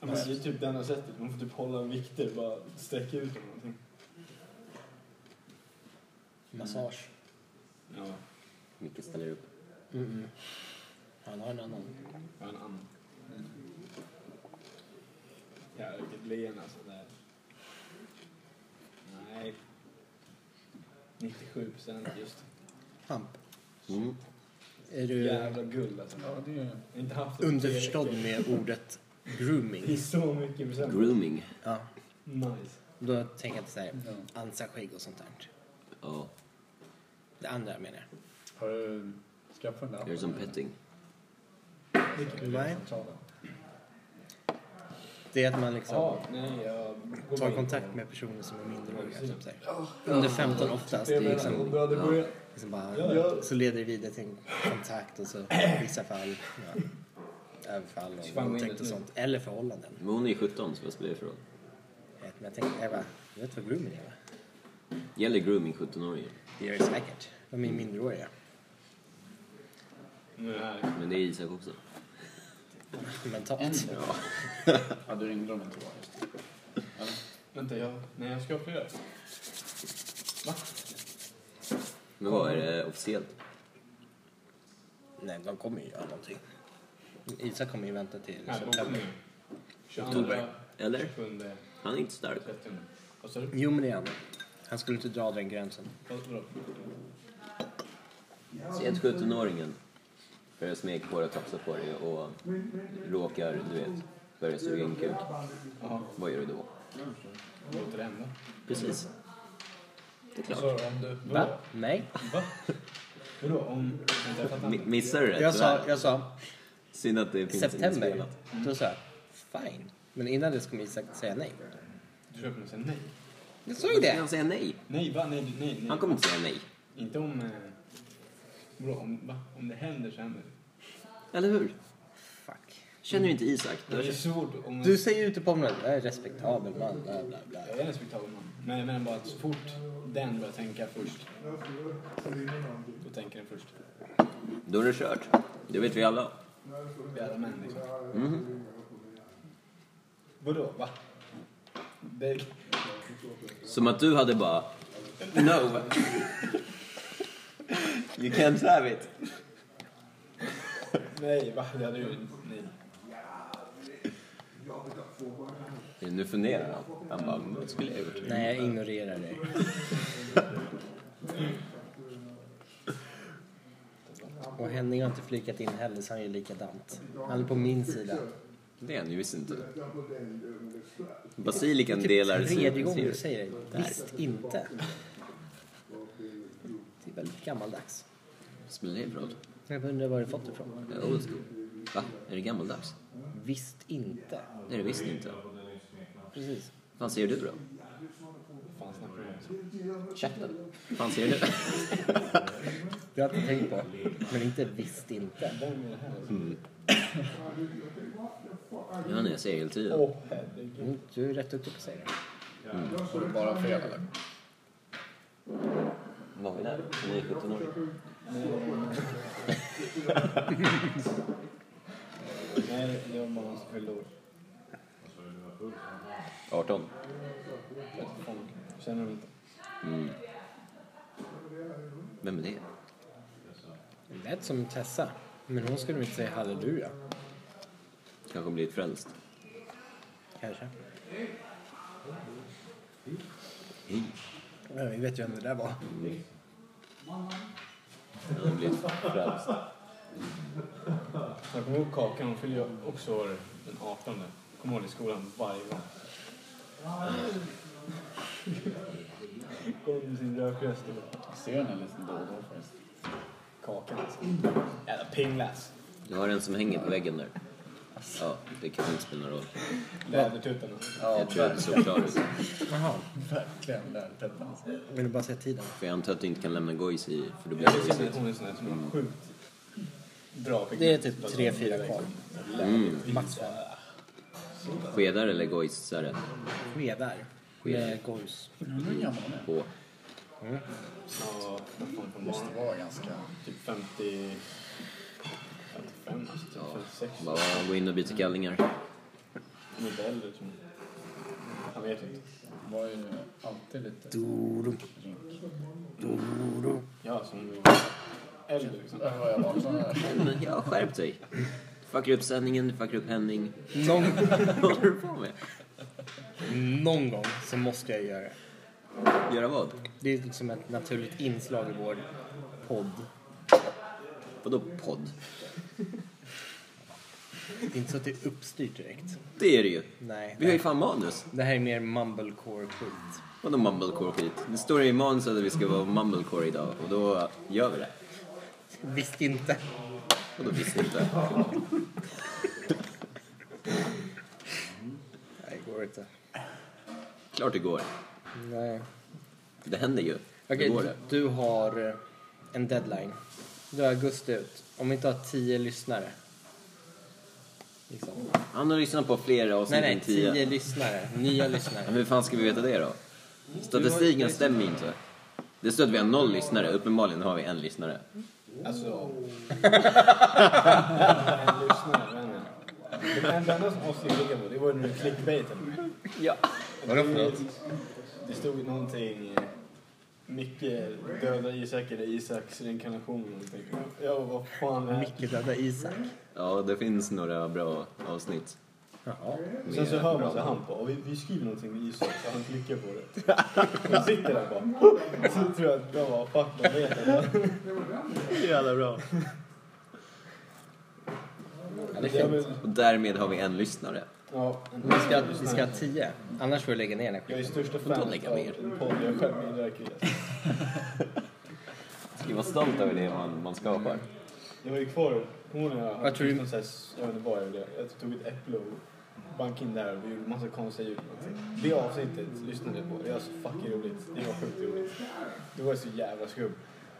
Speaker 2: Ja, men det är typ det enda sättet. Man får typ hålla vikter och bara sträcka ut dem någonting.
Speaker 5: Massage.
Speaker 2: Ja,
Speaker 1: Micke ställer upp.
Speaker 5: Mm-mm. Han har en annan.
Speaker 2: jag har en annan. Jävlar vilket leende alltså. Där. Nej. 97 procent just.
Speaker 5: Hamp.
Speaker 1: Mm.
Speaker 5: Är du
Speaker 2: Jävla guld alltså.
Speaker 7: Ja, det är
Speaker 2: Jag har inte haft det på
Speaker 5: underförstådd
Speaker 2: tre veckor.
Speaker 5: med ordet
Speaker 2: Det är
Speaker 5: grooming?
Speaker 2: så mycket procent.
Speaker 1: Grooming.
Speaker 5: Ja.
Speaker 2: Nice.
Speaker 5: Då tänker jag inte så här,
Speaker 7: Ja.
Speaker 5: ansa skägg och sånt där.
Speaker 1: Ja,
Speaker 5: Det andra menar jag.
Speaker 7: Har du skaffat den där?
Speaker 1: gör som petting.
Speaker 5: Nej. Det är att man liksom
Speaker 2: Ja, nej jag... går
Speaker 5: tar
Speaker 2: in på-
Speaker 5: kontakt med personer som är minderåriga. Typ så här. Under 15 oftast.
Speaker 2: Det
Speaker 5: Det är
Speaker 2: jag menar,
Speaker 5: liksom,
Speaker 2: om du hade
Speaker 1: ja.
Speaker 2: börjat...
Speaker 5: liksom bara,
Speaker 2: Ja, ja.
Speaker 5: Så leder det vidare till en kontakt och så vissa fall. Ja, överfall och
Speaker 2: Fan, vad
Speaker 5: våldtäkt
Speaker 2: inne
Speaker 5: och
Speaker 2: nu.
Speaker 5: sånt. Eller förhållanden.
Speaker 1: Men hon är ju 17 så vad spelar det för roll?
Speaker 5: Vet, Men jag tänkte, Eva, du vet vad grooming är va?
Speaker 1: Gäller grooming 17-åringar?
Speaker 5: Det gör det säkert. De är minderåriga.
Speaker 2: Nu här.
Speaker 1: Men det är Isak också.
Speaker 7: En
Speaker 5: [LAUGHS] Mentalt.
Speaker 7: ja. ja, du ringde dem inte bara just det.
Speaker 2: Vänta, jag... Nej, jag ska flera.
Speaker 1: Men vad är det officiellt?
Speaker 5: Nej, de kommer ju göra någonting. Isak kommer ju vänta till
Speaker 2: Här, boken
Speaker 5: september.
Speaker 2: nu. 22,
Speaker 1: Oktober. Eller?
Speaker 2: 27,
Speaker 1: Han är inte stark.
Speaker 2: 30. Vad sa du?
Speaker 5: Jo, men det är han. Han skulle inte dra den gränsen.
Speaker 2: Vad- vadå?
Speaker 1: Säg att 17-åringen börjar smeka på dig och tafsa på dig och råkar, du vet, börja suga in kuk. Vad gör du då?
Speaker 2: Låter det hända?
Speaker 1: Precis. Det är klart.
Speaker 2: Så om du...
Speaker 5: Va? Nej.
Speaker 2: Va? Vadå om... Vänta, jag fattar
Speaker 1: Mi-
Speaker 2: inte.
Speaker 1: missar du det?
Speaker 5: Jag
Speaker 1: Tyvärr.
Speaker 5: sa, jag sa
Speaker 1: Synd att det finns
Speaker 5: september. Mm.
Speaker 1: inspelat.
Speaker 5: Då sa jag fine. Men innan dess kommer Isak säga nej.
Speaker 2: Du tror jag kommer säga nej?
Speaker 5: Jag sa ju
Speaker 1: Ska
Speaker 5: det!
Speaker 1: han säga nej?
Speaker 2: Nej, va? Nej, du- nej, nej.
Speaker 1: Han kommer inte säga nej.
Speaker 2: Inte om... Eh... Vadå, om, va? Om det händer så händer det.
Speaker 1: Eller hur?
Speaker 5: Fuck.
Speaker 1: Känner du inte Isak? Då
Speaker 2: Men Det är svårt om...
Speaker 5: Du säger ute på området, jag är respektabel man, bla bla bla.
Speaker 2: Jag är en respektabel man. Men jag menar bara att så fort den börjar tänka först, då tänker den först.
Speaker 1: då är det kört. Det vet vi alla.
Speaker 2: Vi alla män liksom.
Speaker 7: Mm.
Speaker 2: Vadå, va? Det,
Speaker 1: Som att du hade bara... No! You can't have it.
Speaker 2: nej, va? Jag hade ju... Nej.
Speaker 1: Nu funderar han. Han bara, vad skulle jag gjort?
Speaker 5: Nej, jag ignorerar [LAUGHS] dig. Och Henning har inte flikat in heller, så han är likadant. Han är på min sida.
Speaker 1: Det är han ju visst inte. Basilikan delar
Speaker 5: typ Tredje gången du
Speaker 1: syre.
Speaker 5: säger det. Visst inte. Det är väldigt gammaldags.
Speaker 1: Spelar det för roll?
Speaker 5: Jag undrar var du fått det ifrån.
Speaker 1: Det är Old school. Va? Är det gammaldags?
Speaker 5: Visst inte.
Speaker 1: Det är det visst inte.
Speaker 5: Precis.
Speaker 1: Vad fan säger du då?
Speaker 2: Fan snackar du om?
Speaker 1: Käften. Vad fan säger du?
Speaker 5: Det har jag inte tänkt på. Men inte visst inte.
Speaker 2: Vem är det här?
Speaker 1: Ja, nej, jag säger hela tiden.
Speaker 2: Åh, herregud.
Speaker 5: Mm, Du är rätt duktig på att säga det.
Speaker 7: Får du bara fel eller?
Speaker 1: Var vi där? Hon är 17 år.
Speaker 2: Nej, det var bara någon som fyllde år.
Speaker 1: 18.
Speaker 2: Fan, Känner du inte?
Speaker 1: Mm. Vem är det?
Speaker 5: Det lät som Tessa. Men hon skulle nog inte säga halleluja.
Speaker 1: Kanske hon blivit frälst.
Speaker 5: Kanske.
Speaker 1: Hej.
Speaker 5: Ja, Vi vet ju vem det där var.
Speaker 1: Hon har blivit frälst.
Speaker 2: Jag kommer ihåg Kakan, hon fyllde ju också år den 18. Kommer ihåg det i skolan varje gång. Kom med sin typ. rökröst och bara,
Speaker 7: Jag ser den lite då och då faktiskt.
Speaker 2: Kakan alltså. Jävla pinglas.
Speaker 1: Du har en som hänger på väggen där. Ja, det kan inte spela någon roll.
Speaker 2: Lädertuttarna.
Speaker 7: Ja,
Speaker 1: Jag tror att det såg klar ut.
Speaker 5: Jaha.
Speaker 7: verkligen lädertuttarna.
Speaker 5: Vill du bara se tiden?
Speaker 1: För jag antar att du inte kan lämna gojs i, för då blir det gojsigt.
Speaker 2: Sjukt bra pigment.
Speaker 5: Det är typ tre, fyra kvar.
Speaker 1: Mm.
Speaker 5: Max fem.
Speaker 1: Skedar eller gojsare?
Speaker 5: Skedar. Med gojs.
Speaker 7: Ja, men hur gammal han är.
Speaker 1: På.
Speaker 2: Ja, vad fan kan det
Speaker 7: Måste
Speaker 2: vara?
Speaker 7: vara ganska...
Speaker 2: Typ 50... 55, alltså. Typ 56.
Speaker 1: Bara gå in och byta kallingar.
Speaker 2: Han är inte äldre, tror jag. Han vet inte.
Speaker 7: Var ju alltid lite...
Speaker 2: Ja, som äldre liksom.
Speaker 7: Där var jag vaknade här.
Speaker 1: Men jag har skärpt dig. Du fuckar upp sändningen, du fuckar upp Henning.
Speaker 5: Någon,
Speaker 1: Vad håller du på med?
Speaker 5: någon gång så måste jag göra det.
Speaker 1: Göra vad?
Speaker 5: Det är liksom ett naturligt inslag i vår podd.
Speaker 1: Vadå podd?
Speaker 5: Det är inte så att det är uppstyrt direkt.
Speaker 1: Det är det ju.
Speaker 5: Nej.
Speaker 1: Vi har ju fan manus.
Speaker 5: Det här är mer mumblecore-skit.
Speaker 1: Vadå mumblecore och skit? Det står i manuset att vi ska vara mumblecore idag och då gör vi det.
Speaker 5: Visst inte.
Speaker 1: Och då visste inte.
Speaker 5: Nej, det går inte.
Speaker 1: Klart det går.
Speaker 5: Nej.
Speaker 1: Det händer ju.
Speaker 5: Okej,
Speaker 1: det går
Speaker 5: du,
Speaker 1: det.
Speaker 5: du har eh, en deadline. Du har augusti ut. Om vi inte har tio lyssnare. Liksom.
Speaker 1: Han har lyssnat på flera
Speaker 5: Nej,
Speaker 1: avsnitt
Speaker 5: nej,
Speaker 1: än tio.
Speaker 5: tio lyssnare. Nya
Speaker 1: Men
Speaker 5: lyssnare.
Speaker 1: hur fan ska vi veta det då? Statistiken stämmer ju inte. Det står att vi har noll lyssnare. Uppenbarligen har vi en lyssnare.
Speaker 2: Alltså... Lyssna, vännen. Det enda som oss ligger på, det var den där clickbaiten.
Speaker 1: Ja.
Speaker 2: Vadå för något? Det stod någonting... eh, Micke döda Isak eller Isaks reinkarnation eller någonting. Jag bara, vad fan är det här?
Speaker 5: Micke döda Isak.
Speaker 1: Ja, det finns några bra avsnitt.
Speaker 5: Jaha.
Speaker 2: Sen så
Speaker 1: Med
Speaker 2: hör man
Speaker 1: bra
Speaker 2: så han bara, vi, vi skriver någonting med Isak så han klickar på
Speaker 5: [LAUGHS]
Speaker 2: det. Och sitter där bara. Så tror jag att de bara, fuck man vet det.
Speaker 5: Jävla bra. Ja, det är fint.
Speaker 1: Och därmed har vi en lyssnare.
Speaker 2: Ja,
Speaker 5: Vi ska, vi ska ha tio. Annars får du lägga ner den här
Speaker 2: Jag är
Speaker 5: skiten.
Speaker 2: största
Speaker 1: då
Speaker 2: fan av
Speaker 1: lägga ner?
Speaker 2: en podd jag själv medverkar i.
Speaker 1: Ska vi vara stolta över det man, man skapar?
Speaker 2: Jag var ju kvar, kommer när jag
Speaker 5: Vad tror du-
Speaker 2: någon liksom så här, jag vet inte vad jag gjorde. Jag tog ett äpple och bankade in där och vi gjorde massa konstiga ljud. Det avsnittet lyssnade jag på. Det var så fucking roligt. Det var sjukt roligt. Det var så jävla skumt.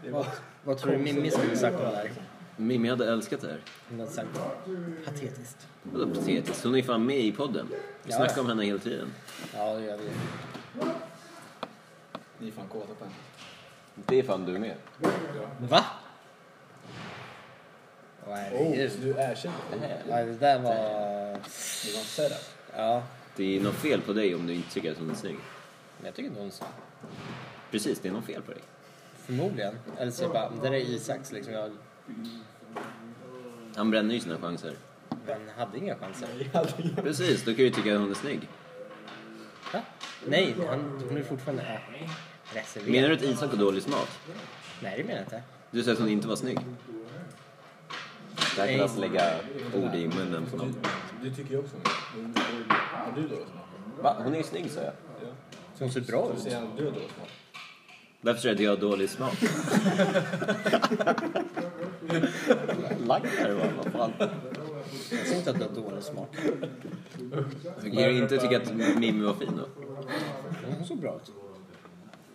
Speaker 2: Det var...
Speaker 5: Vad, vad tror du Mimmi skulle sagt om det här?
Speaker 1: Mimmi hade älskat det här.
Speaker 5: Hon hade sagt patetiskt.
Speaker 1: Vadå patetiskt? Hon är ju fan med i podden. Vi
Speaker 5: Ja.
Speaker 1: snackar om henne hela tiden.
Speaker 5: Ja, det gör vi.
Speaker 2: Ni är fan kåta på henne.
Speaker 1: Det är fan du med.
Speaker 5: Va? Åh,
Speaker 2: Oh,
Speaker 5: herregud.
Speaker 2: så du erkänner det?
Speaker 5: Nej, det där var...
Speaker 2: Det var en setup.
Speaker 5: Ja,
Speaker 1: Det är något fel på dig om du inte tycker att hon är snygg.
Speaker 5: men jag tycker inte hon sa.
Speaker 1: Precis, det är något fel på dig.
Speaker 5: Förmodligen. Eller så är det bara, det där är Isaks liksom. Jag,
Speaker 1: Han bränner ju sina chanser.
Speaker 5: han hade inga chanser.
Speaker 1: Precis, då kan du tycka att hon är snygg.
Speaker 5: Va? Nej, han, hon är fortfarande äh, reserverad.
Speaker 1: Menar du att Isak har dålig smak?
Speaker 5: Nej, det menar jag inte.
Speaker 1: Du sa att hon inte var snygg. Där kan alltså lägga ord i munnen på någon.
Speaker 2: Du tycker ju också om det. Har du dålig smak?
Speaker 1: Va? Hon är ju snygg sa jag.
Speaker 5: Så hon ser bra
Speaker 2: Du
Speaker 5: ut.
Speaker 2: säger att du har dålig smak.
Speaker 1: Varför säger du att jag har dålig smak? Laggar va? Vad fan?
Speaker 5: Jag ser inte att du har dålig smak.
Speaker 1: Tycker du inte tycka att Mimmi var fin då?
Speaker 5: Hon såg bra ut.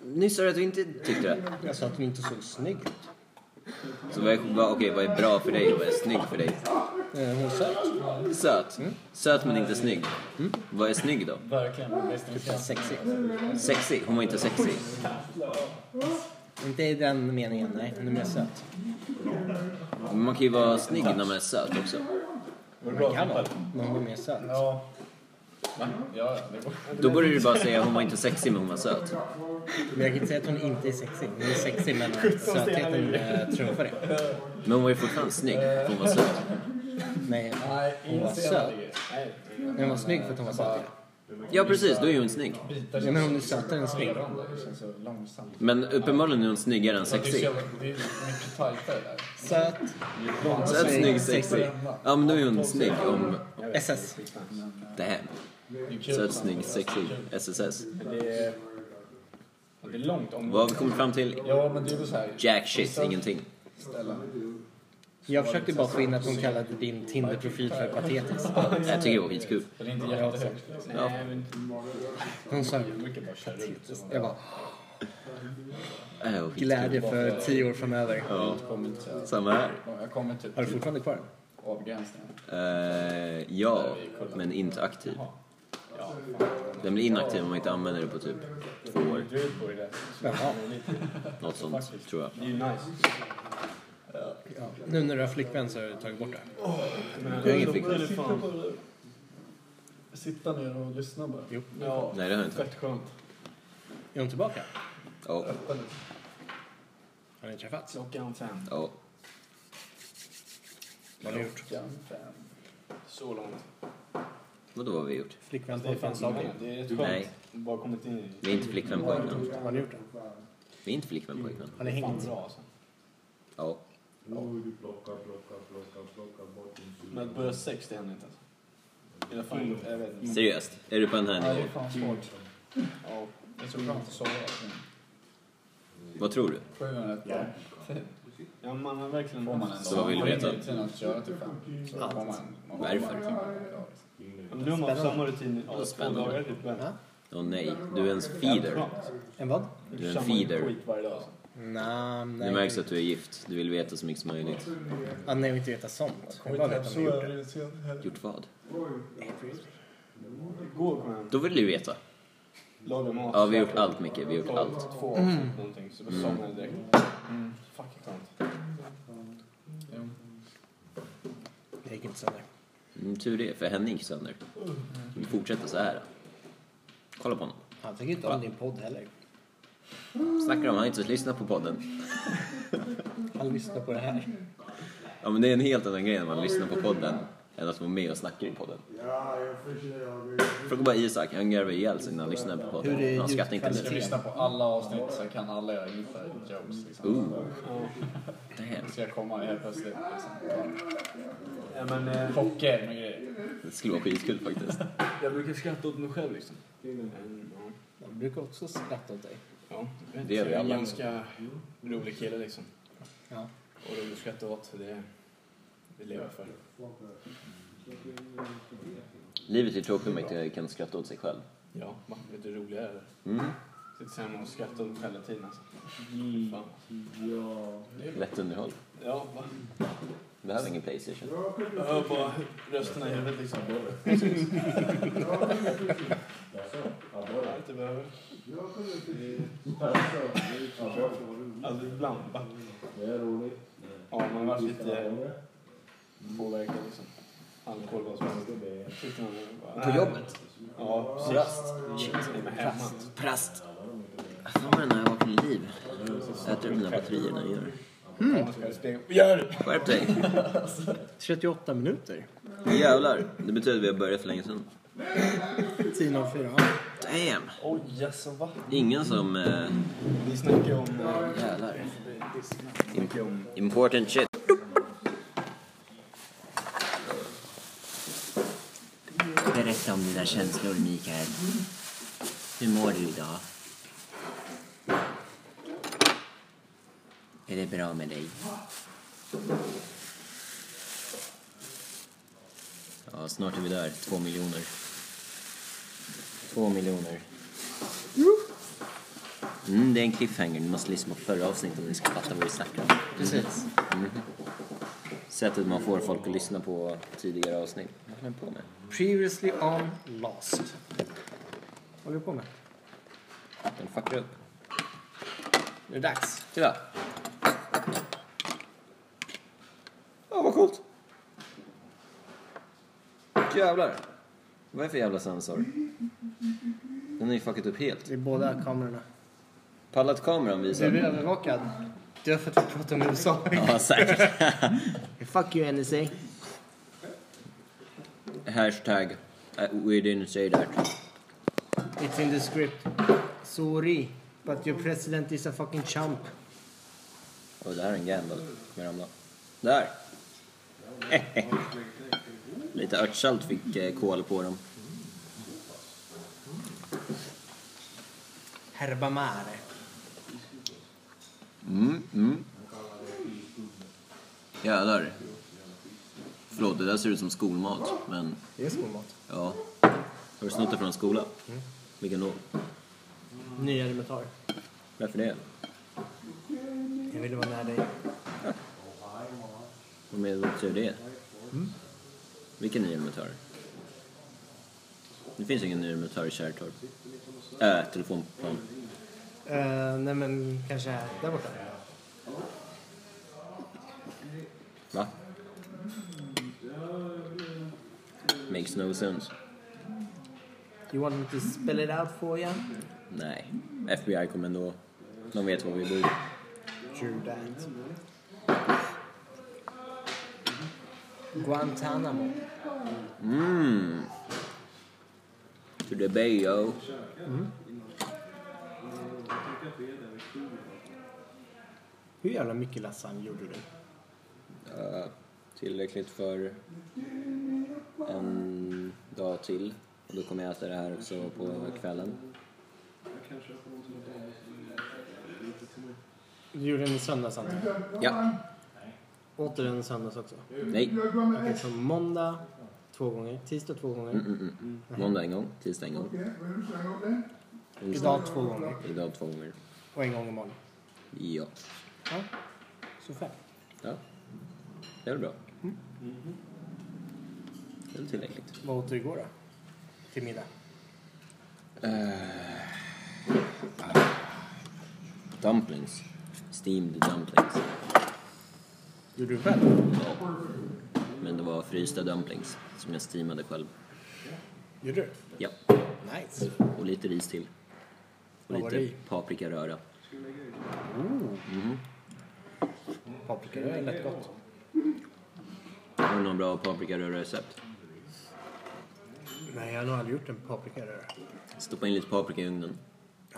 Speaker 1: Nyss sa du att du inte tyckte det.
Speaker 5: Jag sa att hon inte såg snygg ut.
Speaker 1: Så vad är, vad, okej, vad är bra för dig och vad är snygg för dig?
Speaker 5: Eh, Hon är söt.
Speaker 1: Söt. Söt men inte snygg. Vad är snygg då?
Speaker 7: Verkligen. Visst, det
Speaker 5: Men
Speaker 7: känns...
Speaker 5: Typ sexig.
Speaker 1: Sexig? Hon var inte sexig.
Speaker 5: Inte i den meningen, nej. Hon är mer söt.
Speaker 1: Men man kan ju vara snygg när man är söt också.
Speaker 2: Var det bra?
Speaker 5: Kan vara. Men hon är mer söt.
Speaker 7: Ja. Va? Ja, ja, det går.
Speaker 1: Då borde du bara säga hon var inte sexig men hon var söt.
Speaker 5: Men jag kan inte säga att hon inte är sexig. Hon är sexig men sötheten eh, trumfar det.
Speaker 1: Men hon var ju fortfarande snygg för hon var söt.
Speaker 5: Nej,
Speaker 7: Nej,
Speaker 5: Hon var
Speaker 7: inse
Speaker 5: söt.
Speaker 7: alla grejer. Nej, det
Speaker 5: men hon var snygg för att hon var söt.
Speaker 1: Ja precis, då är hon snygg.
Speaker 7: bitar
Speaker 5: Ja,
Speaker 7: sig
Speaker 5: men hon är sötare än snygg.
Speaker 7: redan då. Det känns så långsamt.
Speaker 1: Men uppenbarligen är hon snyggare än
Speaker 7: Det är så
Speaker 1: sexig.
Speaker 7: jävla... Det är mycket tajtare där.
Speaker 5: Söt.
Speaker 1: Söt, snygg, sexig. Ja men då är hon snygg om...
Speaker 5: SS.
Speaker 1: Damn. Söt, snygg, sexig. SSS.
Speaker 2: Det är... Det är långt om...
Speaker 1: Vad har vi kommit fram till?
Speaker 7: Ja, men det är väl så här.
Speaker 1: Jack shit, ingenting.
Speaker 7: Ställa.
Speaker 5: Jag försökte bara få in att hon kallade din Tinder-profil för patetisk.
Speaker 1: Jag tycker det var skitkul.
Speaker 2: Det är inte jättehögt. Nej, men
Speaker 5: Hon sa
Speaker 2: jag brukar bara köra ut. så.
Speaker 5: jag bara,
Speaker 1: Ja, det var Äh, skitkul.
Speaker 5: glädje för tio år framöver.
Speaker 1: Ja,
Speaker 7: Kommer inte så
Speaker 1: samma här.
Speaker 7: jag kommer typ
Speaker 5: Har du
Speaker 7: till
Speaker 5: fortfarande kvar den?
Speaker 7: avgränsningen.
Speaker 1: Eh, ja, men inte aktiv. Den blir inaktiv om man inte använder den på typ två år.
Speaker 2: Du är på det där.
Speaker 5: Jaha.
Speaker 1: Något sånt, tror jag.
Speaker 2: Det är ju nice.
Speaker 5: Ja. Nu när du har flickvän så har du tagit bort det.
Speaker 1: Du har ingen flickvän?
Speaker 2: Sitta ner och lyssna bara.
Speaker 5: Jo.
Speaker 2: Ja,
Speaker 1: Nej, det har jag inte.
Speaker 2: fett skönt.
Speaker 5: Är hon tillbaka?
Speaker 1: Ja,
Speaker 5: Har ni träffats?
Speaker 2: Klockan fem.
Speaker 1: ja.
Speaker 5: Vad har ni gjort?
Speaker 2: Klockan fem. Så långt.
Speaker 1: Vadå, vad har vi gjort?
Speaker 5: Flickvän på fanslagen.
Speaker 2: Det är rätt
Speaker 1: Nej.
Speaker 2: skönt. Bara kommit in i
Speaker 1: Vi är inte flickvän pojkvän.
Speaker 5: Har ni gjort det?
Speaker 1: Vi är inte flickvän pojkvän.
Speaker 5: Har ni
Speaker 2: Fan
Speaker 5: hängt?
Speaker 2: bra alltså.
Speaker 1: Ja.
Speaker 2: Men att börja sex, det händer inte alltså. I alla fall inte, jag vet inte.
Speaker 1: Seriöst, är du på den här
Speaker 2: Ja, det är
Speaker 1: nivån?
Speaker 2: fan svårt. Ja,
Speaker 7: Det är så skönt att sova.
Speaker 1: Vad tror du?
Speaker 7: 700 ja.
Speaker 2: ja man har verkligen...
Speaker 7: får man ändå.
Speaker 1: Så vad vill du veta?
Speaker 7: Om man inte har att köra till fem så får man... man får
Speaker 1: Varför?
Speaker 7: bara timmar per dag, liksom.
Speaker 2: Nu har man samma rutin i ja, två
Speaker 1: Spännande.
Speaker 2: dagar typ. men-
Speaker 5: Ja.
Speaker 1: Åh nej, du är en feeder.
Speaker 5: En vad?
Speaker 1: Du är en
Speaker 2: Samma
Speaker 1: feeder.
Speaker 2: skit varje dag alltså.
Speaker 5: Nej,
Speaker 1: Det
Speaker 5: nej.
Speaker 1: märks att du är gift. Du vill veta så mycket som möjligt.
Speaker 5: Ah, nej, jag vill inte veta sånt. Jag vill bara veta om ni har gjort det.
Speaker 1: Gjort vad?
Speaker 2: Igår kom jag hem,
Speaker 1: Då vill du veta.
Speaker 2: lagade mat.
Speaker 1: Ja, vi har gjort allt Micke. Vi har gjort
Speaker 2: Kolla,
Speaker 1: allt. Mm.
Speaker 2: Två avsnitt någonting, så bara somnade jag direkt. Fucking skönt.
Speaker 5: Det gick inte sönder.
Speaker 1: Mm, tur det, för henne gick sönder. Vi fortsätter så här. Kolla på honom.
Speaker 5: Han tycker inte om din podd heller.
Speaker 1: Snackar om han inte ens lyssnar på podden.
Speaker 5: Han lyssnar på det här.
Speaker 1: Ja, men det är en helt annan grej när man lyssnar på podden än att vara med och snackar i podden. Fråga bara Isak, han garvar ihjäl sig när han lyssnar på
Speaker 5: Hur är
Speaker 1: podden. Han skrattar inte
Speaker 7: Jag
Speaker 1: ens.
Speaker 7: lyssnar på alla avsnitt så jag kan alla era inside jokes. Liksom.
Speaker 1: Ooh. Damn,
Speaker 7: Ska jag komma helt plötsligt liksom.
Speaker 2: Ja, men, eh,
Speaker 7: Chocker med grejer.
Speaker 1: det skulle vara skitkul faktiskt.
Speaker 2: jag brukar skratta åt mig själv liksom. Men, ja.
Speaker 5: De brukar också skratta åt dig.
Speaker 2: Ja, vet
Speaker 1: Det gör
Speaker 2: inte,
Speaker 1: vi
Speaker 2: jag är en
Speaker 1: alla.
Speaker 2: ganska rolig kille liksom.
Speaker 5: Ja.
Speaker 2: Och rolig att skratta åt, så det, det lever jag för.
Speaker 1: Livet är tråkigt om man inte kan skratta åt sig själv.
Speaker 2: Ja, va? vet du hur rolig jag är?
Speaker 1: Mm.
Speaker 2: Sitter hemma och skrattar åt mig själv hela tiden alltså. Fan.
Speaker 1: Lätt underhåll.
Speaker 2: Ja, va?
Speaker 1: Behöver ingen Playstation.
Speaker 2: Jag hör bara rösterna i huvudet liksom. [LAUGHS] Jag vet inte vad jag behöver. Alltså ibland, va? Ja, man har varit lite påverkad liksom. Alkohol, vad som helst. Sitter man och bara,
Speaker 1: På
Speaker 2: nej.
Speaker 1: jobbet?
Speaker 2: Ja,
Speaker 1: Prast?
Speaker 2: precis. Men hemma.
Speaker 1: Prast? Fan vad den här vaknar till liv. Äter upp mina batterier när jag gör det.
Speaker 2: Man ska i spegeln. Gör det!
Speaker 1: Skärp dig!
Speaker 5: 38 minuter.
Speaker 1: Jävlar, det betyder att vi har börjat för länge sedan.
Speaker 5: 10.04.
Speaker 1: Damn!
Speaker 2: Oj, jaså va?
Speaker 1: Ingen som... Eh,
Speaker 2: Vi snackar ju om... eh,
Speaker 1: jävlar.
Speaker 2: Vi snackar ju om...
Speaker 1: Important shit. Berätta om dina känslor, Mikael. Hur mår du idag? Är det bra med dig? Ja, snart är vi där. Två miljoner. Två miljoner. Mm, det är en cliffhanger. Du måste lyssna på förra avsnittet om du ska fatta vad vi snackar om.
Speaker 5: Precis.
Speaker 1: Sättet man får folk att lyssna på tidigare avsnitt. Vad håller jag på med?
Speaker 5: Previously on Lost. Vad håller du på med?
Speaker 1: Den fuckar upp.
Speaker 5: Nu är det dags.
Speaker 1: Titta! Ja, vad coolt! Jävlar! Vad är det för jävla sensor? Den har ju fuckat upp helt.
Speaker 5: Det är båda kamerorna.
Speaker 1: Pallat kameran visar...
Speaker 5: Du är övervakad. Du har fått prata om USA.
Speaker 1: Ja, säkert.
Speaker 5: Fuck you NSA.
Speaker 1: Hashtag. eh, We didn't say that.
Speaker 5: It's in the script. Sorry, but your president is a fucking chump.
Speaker 1: Och det här är en gamble. Jag ramlade. Där! [LAUGHS] Lite örtsalt fick eh, kol på dem.
Speaker 5: Herbamare.
Speaker 1: Mm, mm. Jävlar. Förlåt, det där ser ut som skolmat. Men
Speaker 5: Det är skolmat.
Speaker 1: ja. Har du snott det från en skola? Vilken då?
Speaker 5: Nya elementar.
Speaker 1: Varför det?
Speaker 5: Jag ville vara med dig.
Speaker 1: Vad med vad betyder det? Mm. Vilken ny elementör? Det finns ingen ny elementör i Kärrtorp. Äh, telefonplan.
Speaker 5: Eh, nej men kanske här, där borta.
Speaker 1: Va? Makes no sense.
Speaker 5: You want me to spell it out for you?
Speaker 1: Nej. FBI kom ändå. De vet var vi bor.
Speaker 5: True that. Guantanamo.
Speaker 1: Mm. To the bay, yo.
Speaker 5: Hur jävla mycket lasagne gjorde du?
Speaker 1: Ja, Eh, tillräckligt för en dag till. Då kommer jag äta det här också på kvällen.
Speaker 5: Du gjorde den i söndags antar jag.
Speaker 1: Ja.
Speaker 5: Åt du den i söndags också?
Speaker 1: Nej.
Speaker 5: Okej, så måndag två gånger, tisdag två gånger,
Speaker 1: Mm, mm, mm. Måndag en gång, tisdag en gång.
Speaker 10: mm.
Speaker 1: Onsdag.
Speaker 5: idag två gånger
Speaker 1: Idag två gånger.
Speaker 5: och en gång imorgon.
Speaker 1: Ja.
Speaker 5: Ja, så fem.
Speaker 1: ja. Det är väl bra. Det är väl tillräckligt.
Speaker 5: Vad åt du igår då? Till middag?
Speaker 1: Dumplings. Steamed dumplings.
Speaker 5: Gjorde du själv?
Speaker 1: Ja. Men det var frysta dumplings som jag steamade själv.
Speaker 5: Gjorde du?
Speaker 1: Ja.
Speaker 5: Nice.
Speaker 1: Och lite ris till. Och
Speaker 5: Vad var det
Speaker 1: lite
Speaker 5: i?
Speaker 1: paprikaröra.
Speaker 5: Paprika, det är lätt gott.
Speaker 1: Har du någon bra paprikaröra-recept?
Speaker 5: Nej, jag har nog aldrig gjort en paprikaröra.
Speaker 1: Stoppa in lite paprika i ugnen.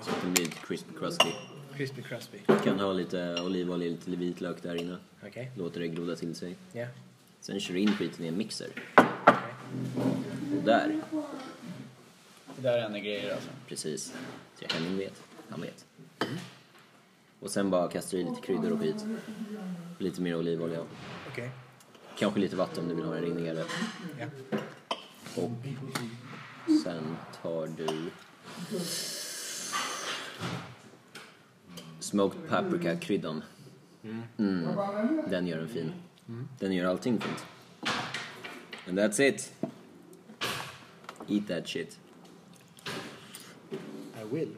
Speaker 1: Så att den blir lite crispy crusty.
Speaker 5: Crispy crispy.
Speaker 1: Kan ha lite olivolja, lite vitlök där inne.
Speaker 5: Okej.
Speaker 1: Låter det groda till sig.
Speaker 5: Ja.
Speaker 1: Sen kör du in skiten i en mixer. Och där,
Speaker 10: Det där är en grejer alltså.
Speaker 1: precis. Så jag Henning vet. Han vet. Och sen bara kastar du i lite kryddor och skit. Lite mer olivolja.
Speaker 5: Okej.
Speaker 1: Kanske lite vatten om du vill ha det rinnigare.
Speaker 5: Ja.
Speaker 1: Och sen tar du... Smoked paprika-kryddan. Mm. Den gör den fin. Den gör allting fint. And that's it. Eat that shit.
Speaker 5: I will.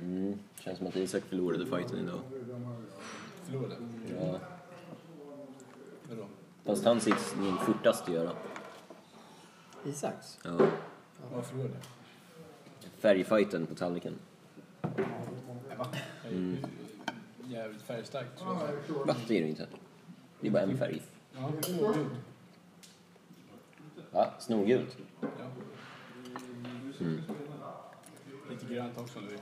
Speaker 1: Mm. Känns som att Isak förlorade fighten idag.
Speaker 2: Förlorade. Mm.
Speaker 1: Ja.
Speaker 2: Vadå?
Speaker 1: Fast han sitter nog fortast att göra.
Speaker 5: Isaks?
Speaker 1: Ja.
Speaker 2: Ja, förlorade.
Speaker 1: Färgfighten på tallriken.
Speaker 2: Jag gick ju jävligt färgstarkt tror jag.
Speaker 1: Va? Det är det inte. Det är bara en färg.
Speaker 2: Ja, gud.
Speaker 1: Va? Snorgult?
Speaker 2: Ja. Lite grönt också nu.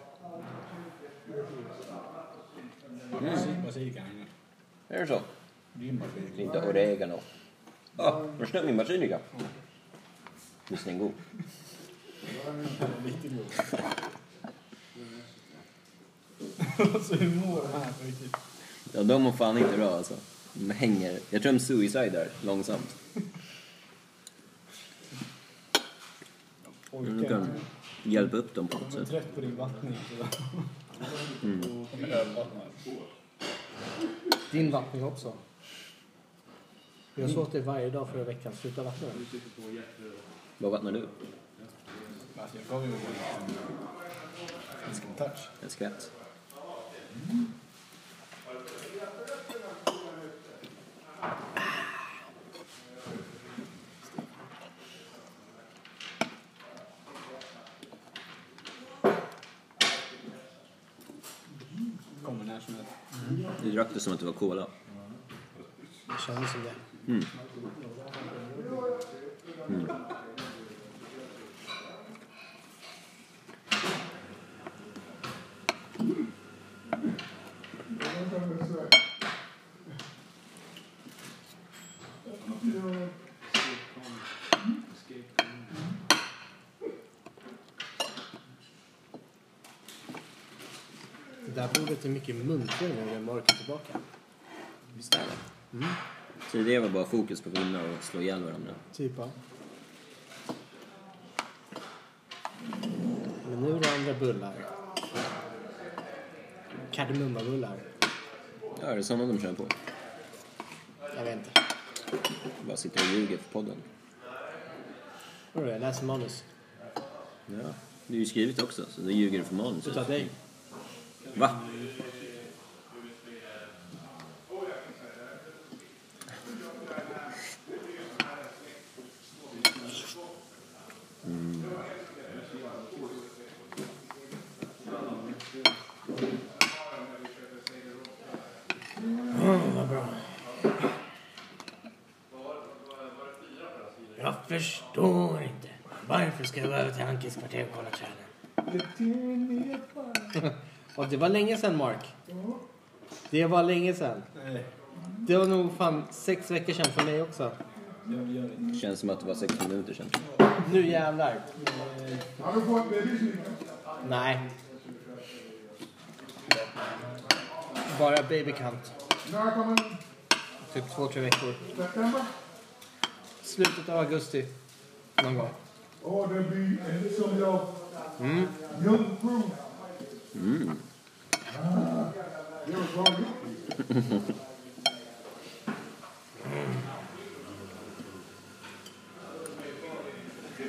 Speaker 2: Mm. Basilika.
Speaker 1: Är det så?
Speaker 2: Grym basilika.
Speaker 1: Lite oregano. Ah, vad snygg min basilika. Visst är den
Speaker 2: [LAUGHS]
Speaker 1: god?
Speaker 2: Riktigt god. alltså hur mår han här på riktigt?
Speaker 1: Ja, de mår fan inte bra alltså. De hänger. Jag tror de suicidar långsamt. Men Du
Speaker 2: Orkar
Speaker 1: kan
Speaker 2: inte.
Speaker 1: hjälpa upp dem på något
Speaker 2: Jag är
Speaker 1: sätt.
Speaker 2: trött på din vattning. Mm. Ölvattnare.
Speaker 5: Din vattning också. Jag
Speaker 10: Mm.
Speaker 5: såg åt dig varje dag förra veckan. Sluta vattna den.
Speaker 1: Vad vattnar du?
Speaker 2: Alltså jag gav ju honom en liten- en liten touch.
Speaker 1: En skvätt?
Speaker 2: Kommer när som helst.
Speaker 1: Du drack det som att det var cola.
Speaker 5: Det kändes som det. Mm. Det här bordet är mycket muntrare nu när Mark är tillbaka.
Speaker 1: Visst är det? Mm. Tidigare var bara fokus på att vinna och slå ihjäl varandra.
Speaker 5: Typ ja. Men nu är det andra bullar. Kardemummabullar.
Speaker 1: Ja, är det sådana de kör på?
Speaker 5: Jag vet inte.
Speaker 1: Bara sitter och ljuger för podden.
Speaker 5: Hörru, jag läser manus.
Speaker 1: Ja. Det är ju skrivet också, så då ljuger du för manus.
Speaker 5: Utav dig.
Speaker 1: Va? Mm.
Speaker 5: Mm, vad bra. Jag förstår inte. Varför ska jag behöva till Ankis kvarter och kolla träden? [LAUGHS] Och det var länge sedan, Mark. Det var länge sedan.
Speaker 2: Nej,
Speaker 5: Det var nog fan sex veckor sedan för mig också.
Speaker 2: jag gör inte.
Speaker 1: Känns som att det var sex minuter sedan.
Speaker 5: Nu jävlar.
Speaker 4: Har du fått babysyra?
Speaker 5: Nej. Bara babykant.
Speaker 4: När kommer den?
Speaker 5: Typ två, tre veckor.
Speaker 4: September?
Speaker 5: Slutet av augusti. Någon gång.
Speaker 4: Åh, det blir en som jag. Young fru.
Speaker 1: Mm.
Speaker 4: Det var [LAUGHS] bra gjort.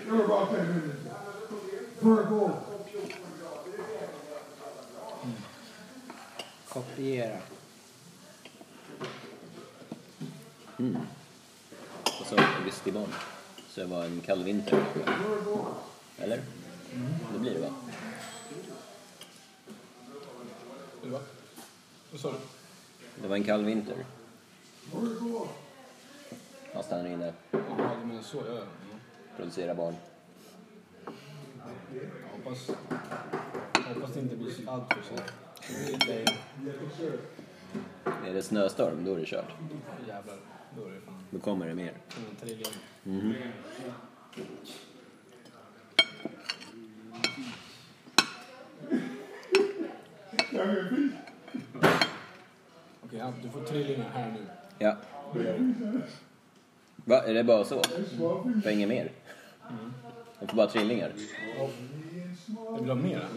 Speaker 4: Det var bra tänkt. Virgo.
Speaker 5: Kopiera.
Speaker 1: Och så augustibarn. Så det var en kall vinter. Eller? Det blir det va?
Speaker 2: Vet du vad? Vad sa du?
Speaker 1: Det var en kall vinter. Han stannar inne,
Speaker 2: Jaha, du menar så. Ja, ja. ja.
Speaker 1: producerar barn.
Speaker 2: Jag hoppas, jag hoppas det inte blir så- allt för så. Det är
Speaker 1: Är det snöstorm, då är det kört.
Speaker 2: jävlar. Då är det fan
Speaker 1: Då kommer det mer.
Speaker 2: en triljon. Okej, Hamp, du får trillingar här nu.
Speaker 1: Ja. Va, är det bara så? För inget mer? Man får bara trillingar?
Speaker 2: Jag vill ha mer.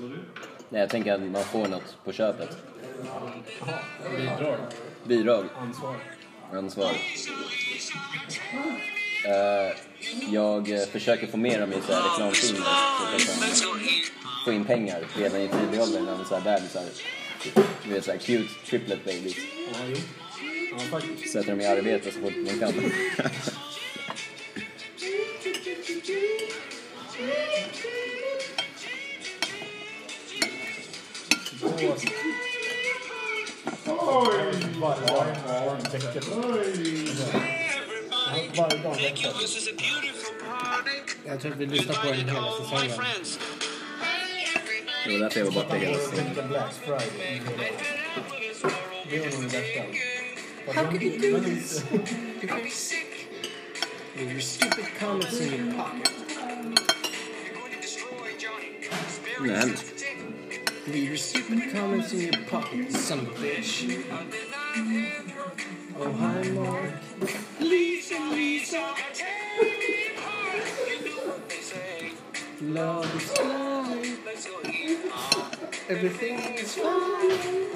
Speaker 1: Nej, jag tänker att man får något på köpet.
Speaker 2: Bidrag.
Speaker 1: Bidrag,
Speaker 2: Ansvar.
Speaker 1: ansvar. Eh, jag eh, försöker få mer av mig i så här reklamfilmer. så att jag kan Få in pengar redan i tidig ålder när man är så här bebisar. Du vet såhär cute triplet babies.
Speaker 2: Ja, jo. Ja, faktiskt.
Speaker 1: Sätter dem i arbete så fort man kan.
Speaker 2: Varje dag. Varje dag.
Speaker 9: Thank you. This is a beautiful party.
Speaker 5: Jag tror att vi lyssnar på den hela
Speaker 9: My
Speaker 5: säsongen.
Speaker 9: friends.
Speaker 1: Det var därför jag var borta hela tiden.
Speaker 2: Tänk en Black Friday. Det var nog det bästa. How could you do this?
Speaker 5: With your stupid comments in your pocket.
Speaker 1: Nej,
Speaker 5: With your stupid comments in your pocket, son of a bitch. Oh, hi, Mark.
Speaker 9: Lisa, Lisa. You know what they say.
Speaker 5: Love is blind.
Speaker 9: Let's go eat.
Speaker 5: Everything is fine.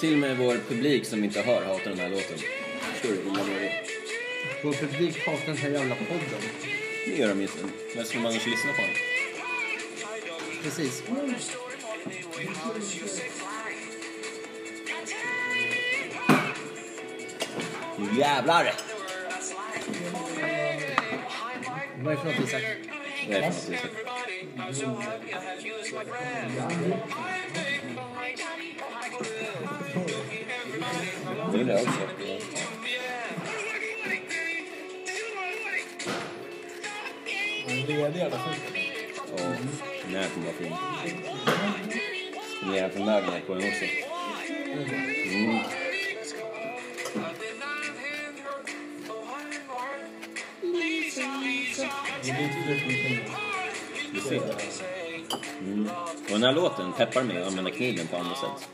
Speaker 1: Till och med vår publik som inte hör hatar den här låten. Förstår du hur illa det är?
Speaker 5: Vår publik hatar den här jävla podden.
Speaker 1: Det gör de ju inte. Varför skulle man annars lyssna på den?
Speaker 5: Precis.
Speaker 1: Nu Jävlar!
Speaker 5: Vad är det för något, Isak?
Speaker 1: Vad är det för något, Isak? Det undrar jag också.
Speaker 2: En ledig jävla skit.
Speaker 1: Och den här kommer vara fin. Spendera förmögenhet på den också. Mm.
Speaker 9: Lisa, Lisa,
Speaker 2: Det blir ett flyttning.
Speaker 1: Du ser. Mm. Och den här låten peppar mig att använda kniven på andra sätt.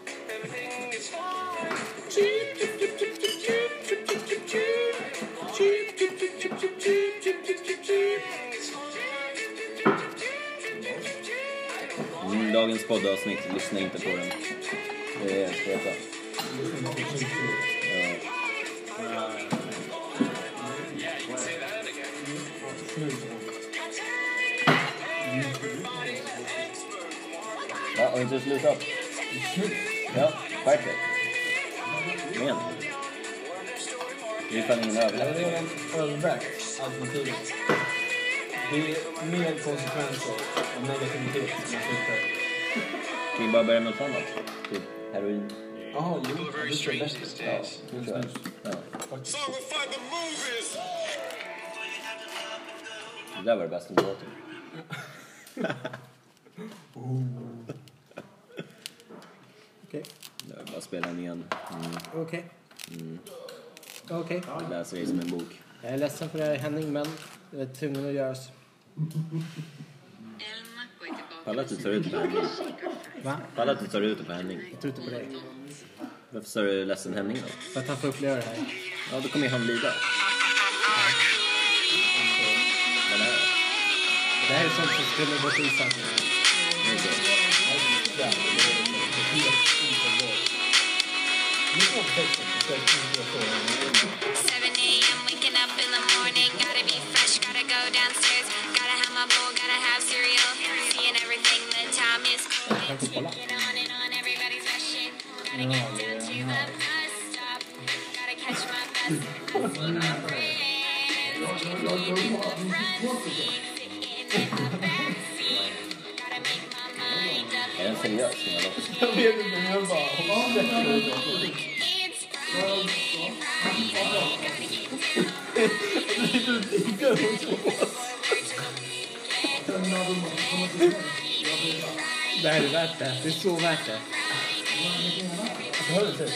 Speaker 1: Mm, dagens poddavsnitt, lyssna inte på den. Det är helt feta. Ja. Ja, och inte sluta. Ja, perfekt. Kom igen. Det är fan ingen
Speaker 2: Det är
Speaker 1: överraskning.
Speaker 2: redan övervägt alternativet. Det är mer konsekvenser och negativitet som man flyttar.
Speaker 1: Kan vi bara börja med något annat? Typ heroin.
Speaker 2: Jaha, jo. ja, Det är bäst. Ja,
Speaker 1: Tror
Speaker 2: just
Speaker 1: jag.
Speaker 2: nu.
Speaker 1: Ja.
Speaker 2: Faktiskt.
Speaker 1: Det där var det bästa med låten.
Speaker 11: Okej.
Speaker 1: Det var bara att spela den igen. Mm.
Speaker 11: Okej. Okej.
Speaker 1: Jag läser det som en bok.
Speaker 11: Jag är ledsen för det här Henning, men det är tvungen att göras.
Speaker 1: Palla att du tar ut det på Henning.
Speaker 11: Va?
Speaker 1: Palla att du tar ut det på Henning.
Speaker 11: Jag tror inte på dig.
Speaker 1: Varför sa du ledsen Henning då?
Speaker 11: För att han får uppleva det här.
Speaker 1: Ja, då kommer ju han lida. Vad är det här?
Speaker 11: Det här är sånt som skulle gått i sanden.
Speaker 1: Det är inte jag.
Speaker 3: Oh,
Speaker 1: Är den seriös? den här låten?
Speaker 2: Jag vet inte, men jag bara... hoppas det är det.
Speaker 11: Det här är värt det. Det är så värt det.
Speaker 2: Alltså, hör du det?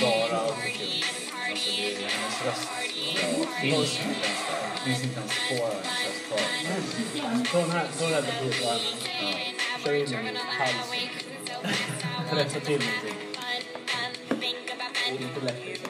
Speaker 7: Bara autotune. Alltså det är hennes röst. Finns inte ens där. Finns inte ens spår av hennes röst kvar.
Speaker 2: Ta den här, ta den här partiet och armen. Kör in den i halsen. Rätta till någonting. Och inte lätt liksom.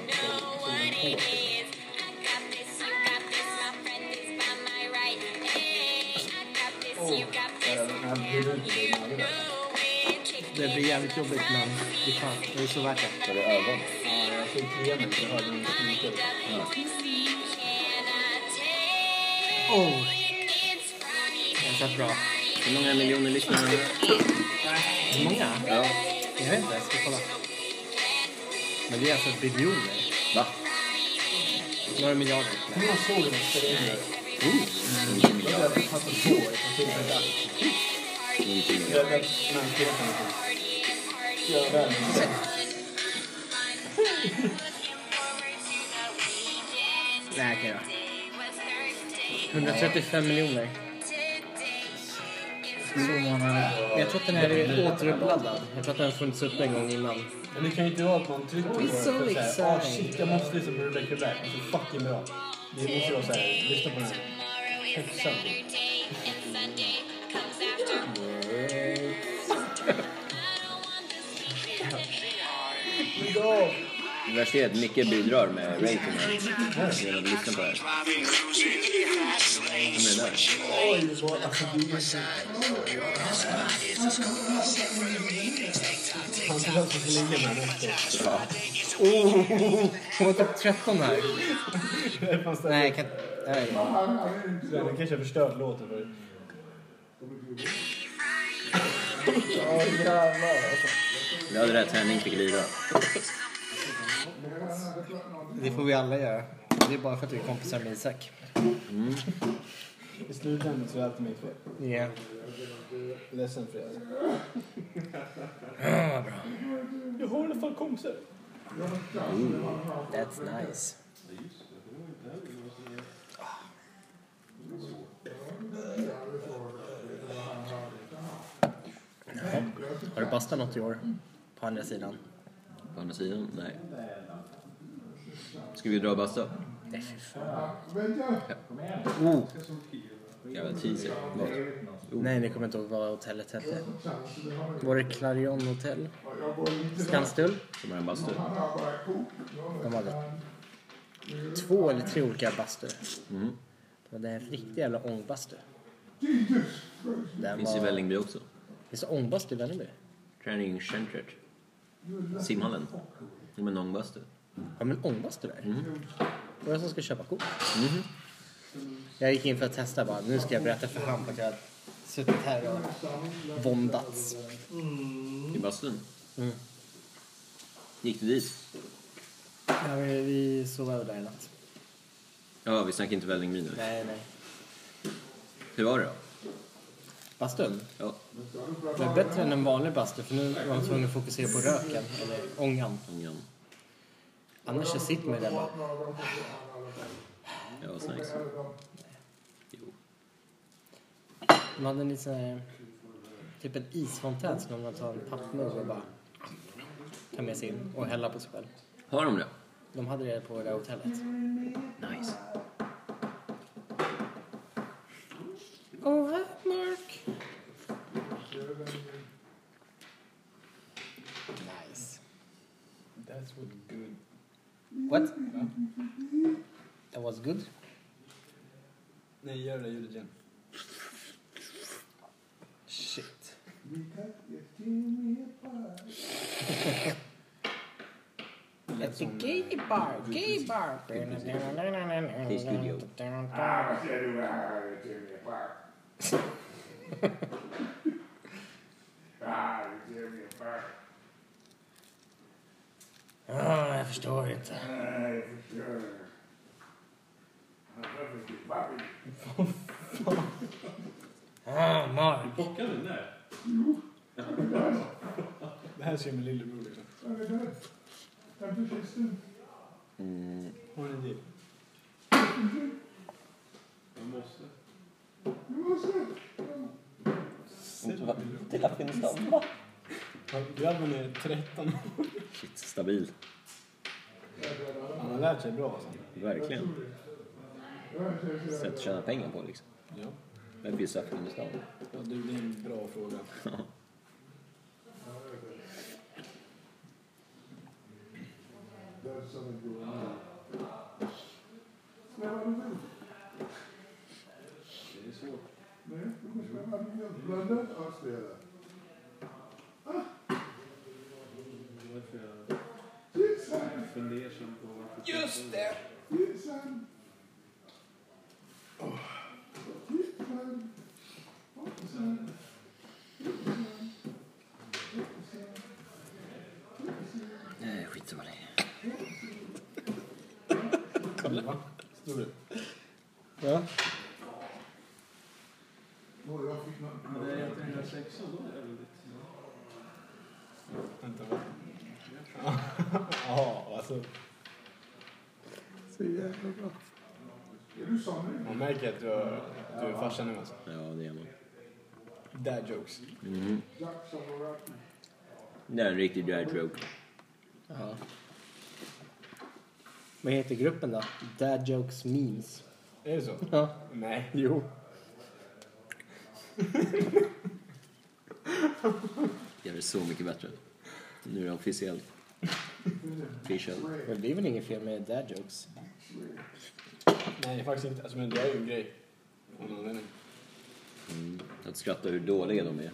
Speaker 11: Det blir jävligt jobbigt, men det är fan. Det är så värt det.
Speaker 1: Har du ögon?
Speaker 2: Ja, jag fick igen den. Jag hörde den skrika.
Speaker 11: Oh. Den satt bra.
Speaker 1: Hur många miljoner lyssnare har du?
Speaker 11: Hur många?
Speaker 1: Ja.
Speaker 11: Jag vet inte. Jag ska kolla. Men det är alltså biljoner.
Speaker 1: Va?
Speaker 11: Några miljarder.
Speaker 2: Hur många såg du när jag in Jag hade passat på ifrån tillfället att
Speaker 1: Ingenting.
Speaker 2: rädda mänskligheten. Göra världen bättre.
Speaker 11: Nej, okej då. 135 miljoner. Jag tror att den här är återuppladdad. Jag tror att den har funnits upp en gång innan.
Speaker 2: Men det kan ju inte vara att man trycker på det och så
Speaker 11: so
Speaker 2: såhär, ah
Speaker 11: exciting.
Speaker 2: shit jag måste lyssna på Rebecca Black, alltså fucking bra. Det måste vara såhär, lyssna på den här. Hetsad. Lägg av!
Speaker 1: Det värsta är att Micke bidrar med ratingen. Genom att lyssna på det här. Vem är det där?
Speaker 2: Oj, vad alltså det är så... Han behöver så länge med den också.
Speaker 1: Ja.
Speaker 11: Oh, hon var topp 13 här.
Speaker 2: [LAUGHS] Det är fan så här-
Speaker 11: Nej, jag kan nej.
Speaker 2: Den kanske har förstört låten för dig.
Speaker 1: Du hade rätt, Henning fick lida.
Speaker 11: Det får vi alla göra. Det är bara för att vi är kompisar med Isak.
Speaker 2: I slutändan så är det alltid mitt fel.
Speaker 11: Ja.
Speaker 2: Ledsen för det. alltså. Jag har i alla fall kompisar.
Speaker 11: That's nice. Jaha. Har du bastat något i år? På andra sidan.
Speaker 1: På andra sidan? Nej. Ska vi dra och basta?
Speaker 4: Nej, fy fan. Kom igen.
Speaker 5: Oh.
Speaker 1: Jävla teaser.
Speaker 5: Nej, ni kommer inte ihåg vad hotellet hette. Var det Clarion Hotel? Skanstull?
Speaker 1: Som är en bastu.
Speaker 5: De hade två eller tre olika bastur.
Speaker 1: Mm.
Speaker 5: Det var en riktig jävla ångbastu. Den
Speaker 1: Finns i
Speaker 5: var-
Speaker 1: Vällingby också.
Speaker 5: Finns det ångbastu i Vällingby?
Speaker 1: Träningscentret. Simhallen. De är en ångbastu.
Speaker 5: Har de en ångbastu där?
Speaker 1: Mm.
Speaker 5: Var det som ska köpa kort? Jag gick in för att testa bara. Nu ska jag berätta för han att jag har suttit här och våndats.
Speaker 1: I bastun.
Speaker 5: Mm.
Speaker 1: Gick du dit?
Speaker 5: Ja, vi, vi sov över där i natt.
Speaker 1: Ja, vi snackar inte Vällingby nu.
Speaker 5: Nej, nej.
Speaker 1: Hur var det då?
Speaker 5: Bastun?
Speaker 1: Ja.
Speaker 5: Det är bättre än en vanlig bastu för nu var man tvungen att fokusera på röken, eller ångan.
Speaker 1: Ångan.
Speaker 5: Annars så sitter man ju där bara.
Speaker 1: Det var så nice.
Speaker 5: Man hade en liten sån här, typ en isfontän som man tar en pappmugg och bara tar med sig in och hälla på sig själv.
Speaker 1: Har de det?
Speaker 5: De hade det på det där hotellet.
Speaker 1: Nice.
Speaker 5: Åh, här, Mark! Nice.
Speaker 2: That's what good.
Speaker 5: What? That was good?
Speaker 2: Nej, gör det där ljudet igen.
Speaker 5: Shit. At the gay bar, gay bar.
Speaker 1: Hey, studio.
Speaker 11: Ja, jag förstår inte. Ja, Mark.
Speaker 2: Det här ser jag min lillebror liksom. Mm. Har du en idé?
Speaker 1: Titta, finns de?
Speaker 2: Grabben är 13 år.
Speaker 1: Shit, stabil.
Speaker 2: Han har lärt sig bra alltså.
Speaker 1: Verkligen. Sätt att tjäna pengar på liksom.
Speaker 2: Ja.
Speaker 1: Vem finns det i stan?
Speaker 2: ja du, det är en bra fråga.
Speaker 6: Just det!
Speaker 1: Nej, skitsamma det.
Speaker 2: Står du?
Speaker 5: Ja.
Speaker 2: Vänta, va? [LAUGHS] Ja, alltså.
Speaker 5: Så jävla bra.
Speaker 2: Man märker att du är, att du är farsa nu alltså.
Speaker 1: Ja, det är man.
Speaker 2: Dad jokes.
Speaker 1: Mhm. Det är en riktig dad joke.
Speaker 5: Ja. Vad heter gruppen då? Dad Jokes Memes.
Speaker 2: Är det så?
Speaker 5: Ja.
Speaker 2: Nej.
Speaker 5: Jo.
Speaker 1: Det är så mycket bättre. Nu är det officiellt. Official.
Speaker 5: Men det blir väl inget fel med dad jokes?
Speaker 2: Nej, faktiskt inte. Alltså, men det är ju en grej. Av någon anledning.
Speaker 1: Mm. Att skratta hur dåliga de är.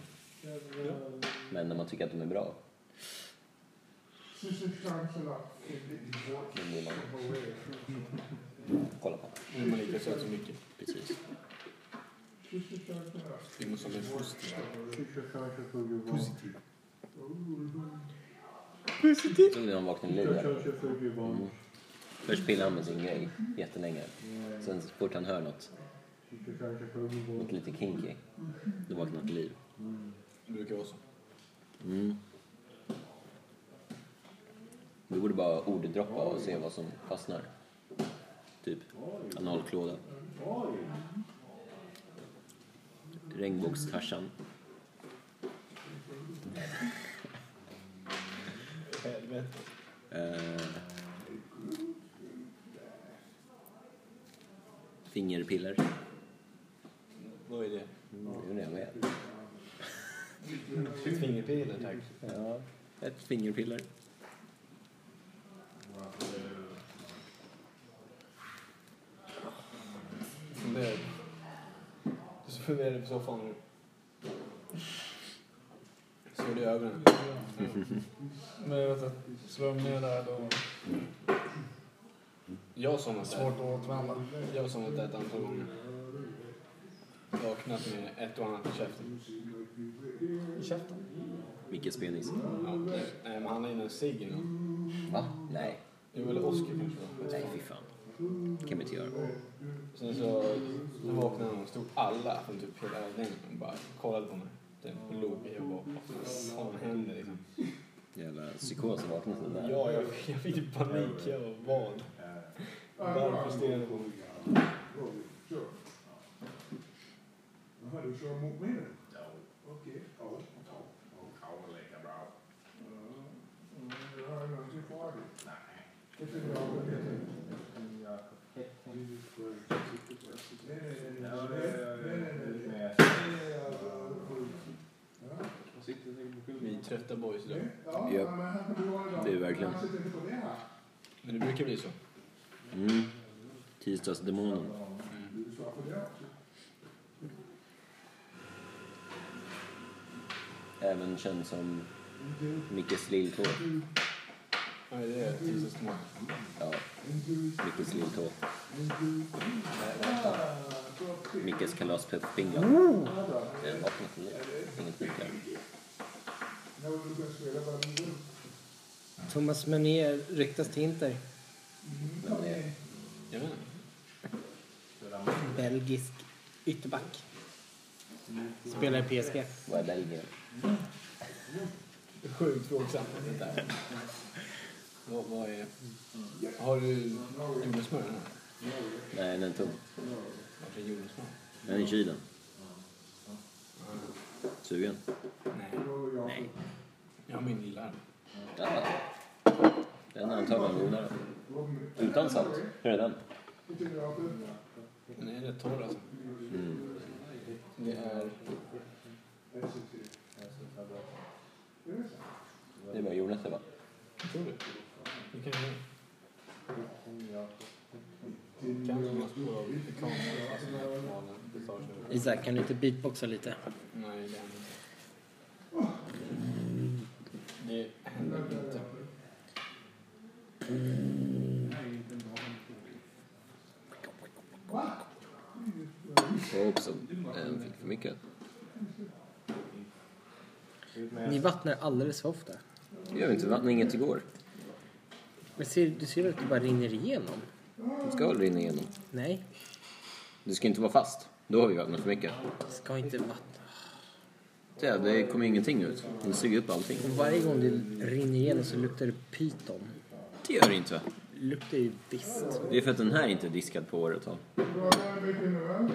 Speaker 1: Men när man tycker att de är bra. Då blir man kolla på.
Speaker 2: Nu är man lika söt som mycket.
Speaker 1: Precis.
Speaker 2: Det måste vara mer positivt.
Speaker 1: Såg ni när han vaknade i livet? Först pillar han med sin grej jättelänge. Sen så fort han hör något, något lite kinky, då vaknar han till liv.
Speaker 2: Det brukar vara så.
Speaker 1: Mm. Du borde bara orddroppa och se vad som fastnar. Typ analklåda. Regnbågstarsan.
Speaker 2: Helvete.
Speaker 1: Eh, fingerpiller.
Speaker 2: Vad är det?
Speaker 1: Det är det jag vet.
Speaker 2: Fingerpilen, tack.
Speaker 1: Ja, ett fingerpiller.
Speaker 2: Funderar. Du funderar på soffan nu. Ser du i ögonen?
Speaker 12: Men vänta, slår de ner där då?
Speaker 2: Jag som har
Speaker 12: Svårt att återvända.
Speaker 2: Jag som har ett antal gånger. Vaknat med ett och annat i käften.
Speaker 12: I käften?
Speaker 1: Micke Spenis.
Speaker 2: Ja, nej, nej, men han har ju en cigg eller nåt.
Speaker 1: Va? Nej.
Speaker 2: Jo, eller Oscar kanske.
Speaker 1: Nej, fy fan. kan vi inte göra.
Speaker 2: Sen så vaknade han och stod alla från typ hela övningen och bara kollade på mig. Typ och log. Jag bara, vad fan händer liksom?
Speaker 1: Jävla psykos att vakna till det där.
Speaker 2: Ja, jag, jag fick ju panik. Jag var vad? Varför stirrade på mig?
Speaker 4: Jaha, du kör mot mig nu? Ja. Okej. Ja. Ja, jag har inte kvar det. Det är för bra att veta. Jesus Christ. Nej, nej, nej, nej. Nej, nej, nej, nej. Nej, ja,
Speaker 2: Vi är trötta boys idag.
Speaker 4: ja.
Speaker 1: Ja.
Speaker 4: Ja, men här kan du vara idag.
Speaker 1: Det är verkligen.
Speaker 4: Jag sitter inte på det här.
Speaker 2: Men det brukar bli så.
Speaker 1: Mm. Tisdagsdemonen.
Speaker 4: Du svarar på det också.
Speaker 1: Även känd som Mickes lilltå.
Speaker 2: Nej, det är tisdagsmorgon.
Speaker 1: Ja, Mickes lilltå. Mickes kalaspuppfingrar. Det är vaknat till liv. Inget mycket.
Speaker 4: När var det du började spela? Bara nu?
Speaker 5: Thomas Meunier ryktas till Inter.
Speaker 1: Men det är
Speaker 2: Jag vet inte.
Speaker 5: Belgisk ytterback. Spelar i PSG.
Speaker 1: vad är Belgien?
Speaker 2: Sjukt plågsamt det där. Vad, vad är... Har du jordnötssmör eller?
Speaker 1: Nej, den är tom.
Speaker 2: Varför jordnötssmör?
Speaker 1: Den är i kylen. Sugen?
Speaker 2: Nej.
Speaker 1: Nej.
Speaker 2: Jag har min lilla.
Speaker 1: Ja. Den är antagligen godare. Utan salt. Hur är den?
Speaker 2: Den är rätt torr alltså.
Speaker 1: Mm.
Speaker 2: Det är...
Speaker 1: Det är bara jordnötter, va?
Speaker 2: Tror du? Det kanske är. Kanske några spår av pekaner, alltså den här malen, pistage.
Speaker 5: Isak, kan du inte beatboxa lite?
Speaker 2: Nej, det händer inte. Det händer inte.
Speaker 1: Det var också en fick för mycket.
Speaker 5: Ni vattnar alldeles för ofta.
Speaker 1: Det gör vi inte. Vattnade inget igår.
Speaker 5: Men ser, du ser att det bara rinner igenom.
Speaker 1: Det ska väl rinna igenom.
Speaker 5: Nej,
Speaker 1: Det ska inte vara fast. Då har vi vattnat för mycket.
Speaker 5: ska inte vattna.
Speaker 1: Det, det kommer ju ingenting ut. Den suger upp allting.
Speaker 5: Och varje gång det rinner igenom så luktar det pyton.
Speaker 1: Det gör det inte.
Speaker 5: Luktar ju visst.
Speaker 1: Det är för att den här inte är diskad på året.
Speaker 4: Du har den här veckan nu, va?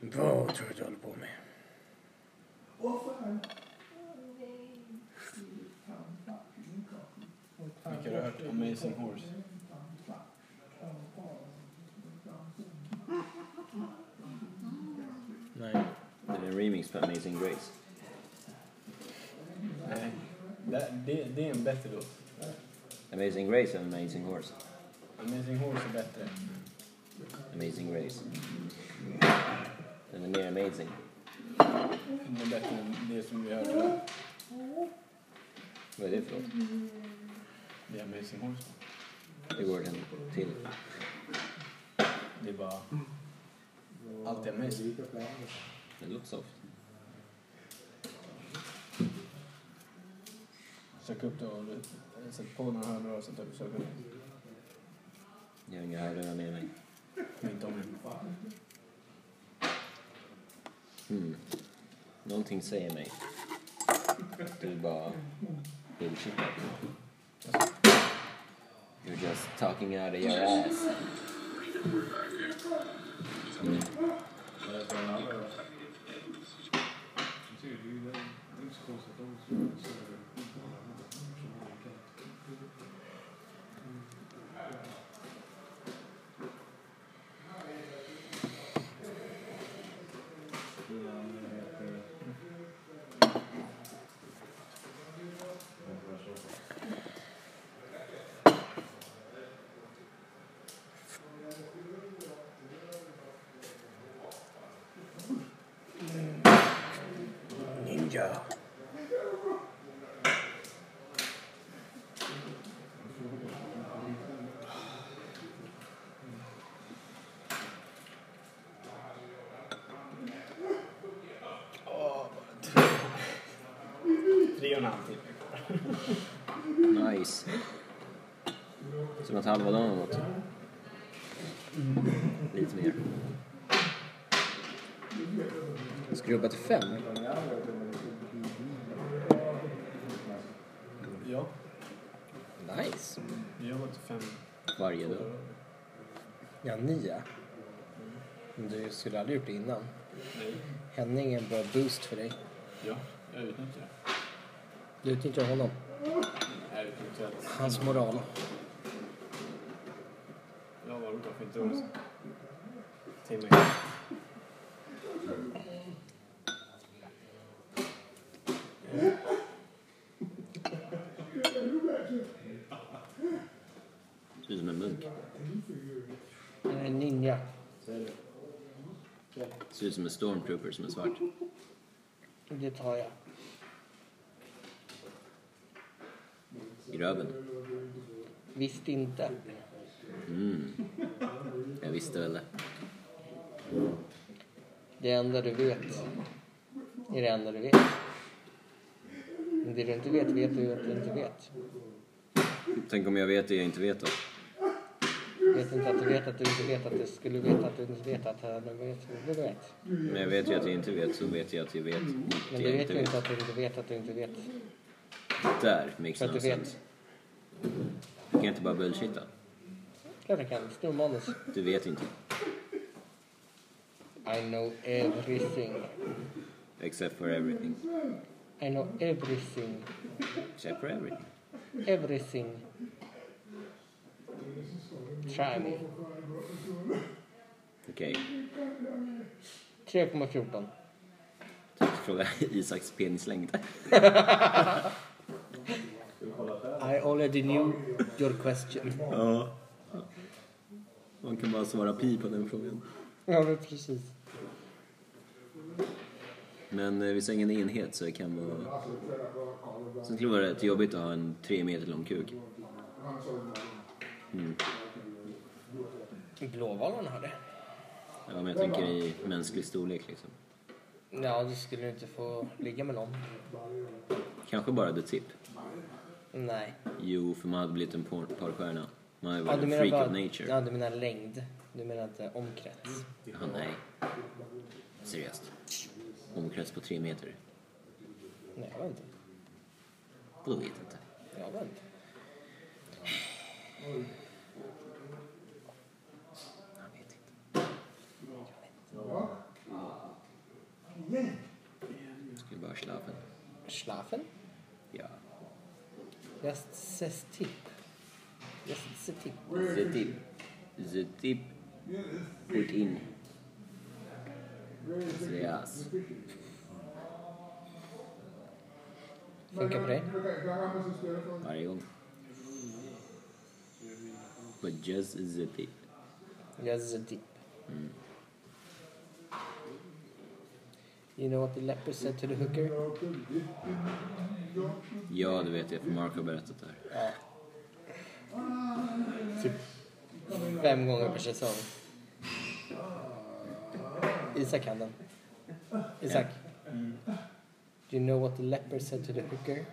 Speaker 5: Vad tror du att jag håller på med?
Speaker 2: Vilka har du hört? Amazing Horse.
Speaker 5: Nej.
Speaker 1: Det är en remix på Amazing Grace.
Speaker 2: Nej. Det, det, det är en bättre låt.
Speaker 1: Amazing Grace är Amazing Horse.
Speaker 2: Amazing Horse är bättre.
Speaker 1: Amazing Grace. Den är mer amazing.
Speaker 2: Den är bättre än det som vi hörde.
Speaker 1: Vad är det för låt?
Speaker 2: Det är Amazing Horse.
Speaker 1: Det går den till.
Speaker 2: Det är bara... Allt är amazing.
Speaker 1: Den låter soft.
Speaker 2: Sök upp det och du- sätt på några hörlurar och sätt upp sök upp.
Speaker 1: Jag har inga hörlurar med mig.
Speaker 2: Men Inte om det.
Speaker 1: Hmm. Någonting säger mig. Du bara bullshittar. You're just talking out of your ass.
Speaker 11: Ninja.
Speaker 2: Tre och en halv timme.
Speaker 1: Nice. Som att halva dagen eller något. Lite mer. Skrubba till fem?
Speaker 2: Ja,
Speaker 1: Nice.
Speaker 2: jag har gått fem.
Speaker 1: Varje dag.
Speaker 5: Ja, nio. Men du skulle aldrig gjort det innan.
Speaker 2: Nej.
Speaker 5: Henning är en bra boost för dig.
Speaker 2: Ja, jag utnyttjar det.
Speaker 5: Du utnyttjar honom.
Speaker 2: Jag utnyttjar det.
Speaker 5: Hans moral.
Speaker 2: Jag var utanför inte år sedan. Timme.
Speaker 1: Du är som en munk.
Speaker 5: En ninja.
Speaker 1: Ser ut som en stormtrooper som är svart.
Speaker 5: Det tar jag.
Speaker 1: I röven.
Speaker 5: Visst inte.
Speaker 1: Mm. Jag visste väl det.
Speaker 5: Det enda du vet är det enda du vet. Men det du inte vet, vet du att du inte vet.
Speaker 1: Tänk om jag vet det jag inte vet då?
Speaker 5: Vet inte att du vet att du inte vet att du skulle veta att du inte vet att du vet att du vet.
Speaker 1: Men jag vet ju att jag inte vet så vet jag att jag vet
Speaker 5: Men
Speaker 1: att
Speaker 5: du
Speaker 1: jag
Speaker 5: vet
Speaker 1: inte
Speaker 5: ju
Speaker 1: vet.
Speaker 5: inte att du inte vet att du inte vet.
Speaker 1: Där makes
Speaker 5: För att
Speaker 1: no
Speaker 5: du
Speaker 1: sense.
Speaker 5: vet.
Speaker 1: Du kan inte bara bullshitta.
Speaker 5: Klart jag kan. Snor manus.
Speaker 1: Du vet inte.
Speaker 5: I know everything.
Speaker 1: Except for everything.
Speaker 5: I know everything.
Speaker 1: Except for everything.
Speaker 5: Everything. Try me.
Speaker 1: Okej.
Speaker 5: 3,14.
Speaker 1: Fråga Isaks penislängd.
Speaker 5: I already knew your question.
Speaker 1: Ja. Man kan bara svara pi på den frågan.
Speaker 5: Ja, men precis.
Speaker 1: Men eh, vi sa ingen enhet så det kan vara... Sen skulle det vara rätt jobbigt att ha en tre meter lång kuk. Mm.
Speaker 5: Blåvalarna hade.
Speaker 1: Ja, men jag tänker i mänsklig storlek liksom.
Speaker 5: Ja, du skulle inte få ligga med någon.
Speaker 1: Kanske bara the tip.
Speaker 5: Nej.
Speaker 1: Jo, för man hade blivit en por- porrstjärna. Man hade
Speaker 5: Ja,
Speaker 1: varit
Speaker 5: du
Speaker 1: en
Speaker 5: menar
Speaker 1: freak
Speaker 5: bara,
Speaker 1: of nature.
Speaker 5: Ja, du menar längd. Du menar inte omkrets.
Speaker 1: Ja, nej. Seriöst. Omkrets på tre meter.
Speaker 5: Nej, jag vet inte.
Speaker 1: Då vet jag inte.
Speaker 5: Jag vet inte.
Speaker 1: Skulle bara slafen.
Speaker 5: Schlafen?
Speaker 1: Ja.
Speaker 5: Just ses tip. Just ses tip.
Speaker 1: The tip. The tip. Put in. Seriöst.
Speaker 5: Funkar på dig?
Speaker 1: Varje gång. But just the tip.
Speaker 5: Just the tip. You know what the leper said to the hooker?
Speaker 1: Ja, det vet jag för Mark har berättat det här.
Speaker 5: Ja. Typ fem gånger per säsong. Isak kan den. Isak. Do you know what the leper said to the hooker?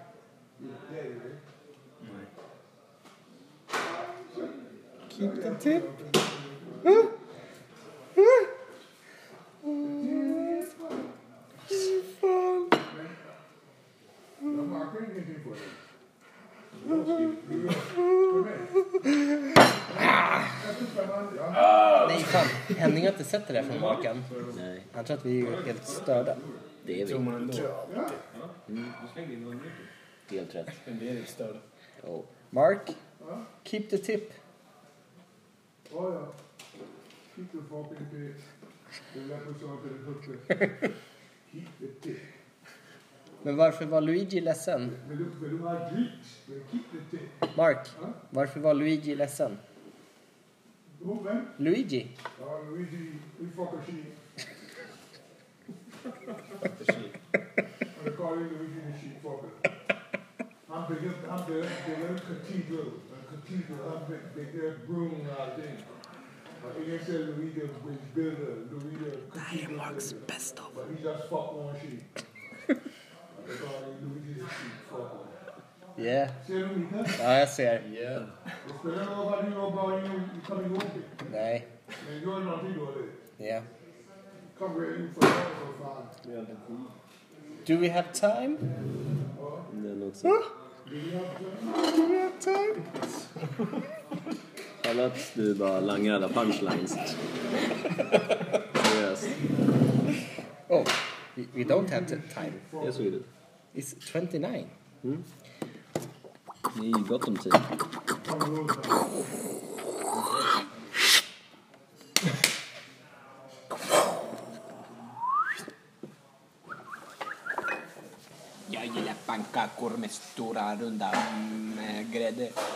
Speaker 5: Keep the tip. Nej, fan. Henning har inte sett det där från Markan.
Speaker 1: Nej.
Speaker 5: Han tror att vi är helt störda.
Speaker 1: Det är vi. Mm. Helt rätt.
Speaker 2: Men vi är lite störda.
Speaker 1: Oh.
Speaker 5: Mark, keep the tip.
Speaker 4: Ja, ja. Keep the fucking dick. Det är därför jag sa till dig uppe. Keep the dick.
Speaker 5: Men varför var Luigi ledsen?
Speaker 4: Men du, men du har dick. Men keep the dick.
Speaker 5: Mark, varför var Luigi ledsen?
Speaker 4: Who, man?
Speaker 5: Luigi?
Speaker 4: Ja, Luigi, we fuck a sheep. Och det kallar ju Luigi en sheepfucker. Han byggde, han byggde, byggde en cathedral. En cathedral. Han byggde- byggde en broom och allting. Och ingen säger Luigi is builder. Luigi is Det här är Marks best of. But he just fucked one [LAUGHS] sheep. Och det kallar ju Luigi en sheepfucker.
Speaker 5: Yeah.
Speaker 4: Ser du mina?
Speaker 5: Ja, jag ser.
Speaker 4: Det spelar ingen roll vad du gör, bara du du kommer ihåg det.
Speaker 5: Nej.
Speaker 4: Men gör någonting dåligt.
Speaker 5: Yeah.
Speaker 4: Come here, you fucker, för fan.
Speaker 5: Do we have time?
Speaker 1: Det är nog så.
Speaker 5: Do we have time?
Speaker 1: Kolla att du bara langar alla punchlines. Seriöst.
Speaker 5: Oh, we- we don't have the time.
Speaker 1: Jag såg det.
Speaker 5: It's 29.
Speaker 1: Det är ju gott om tid.
Speaker 7: Jag gillar pannkakor med stora runda mm, grädde.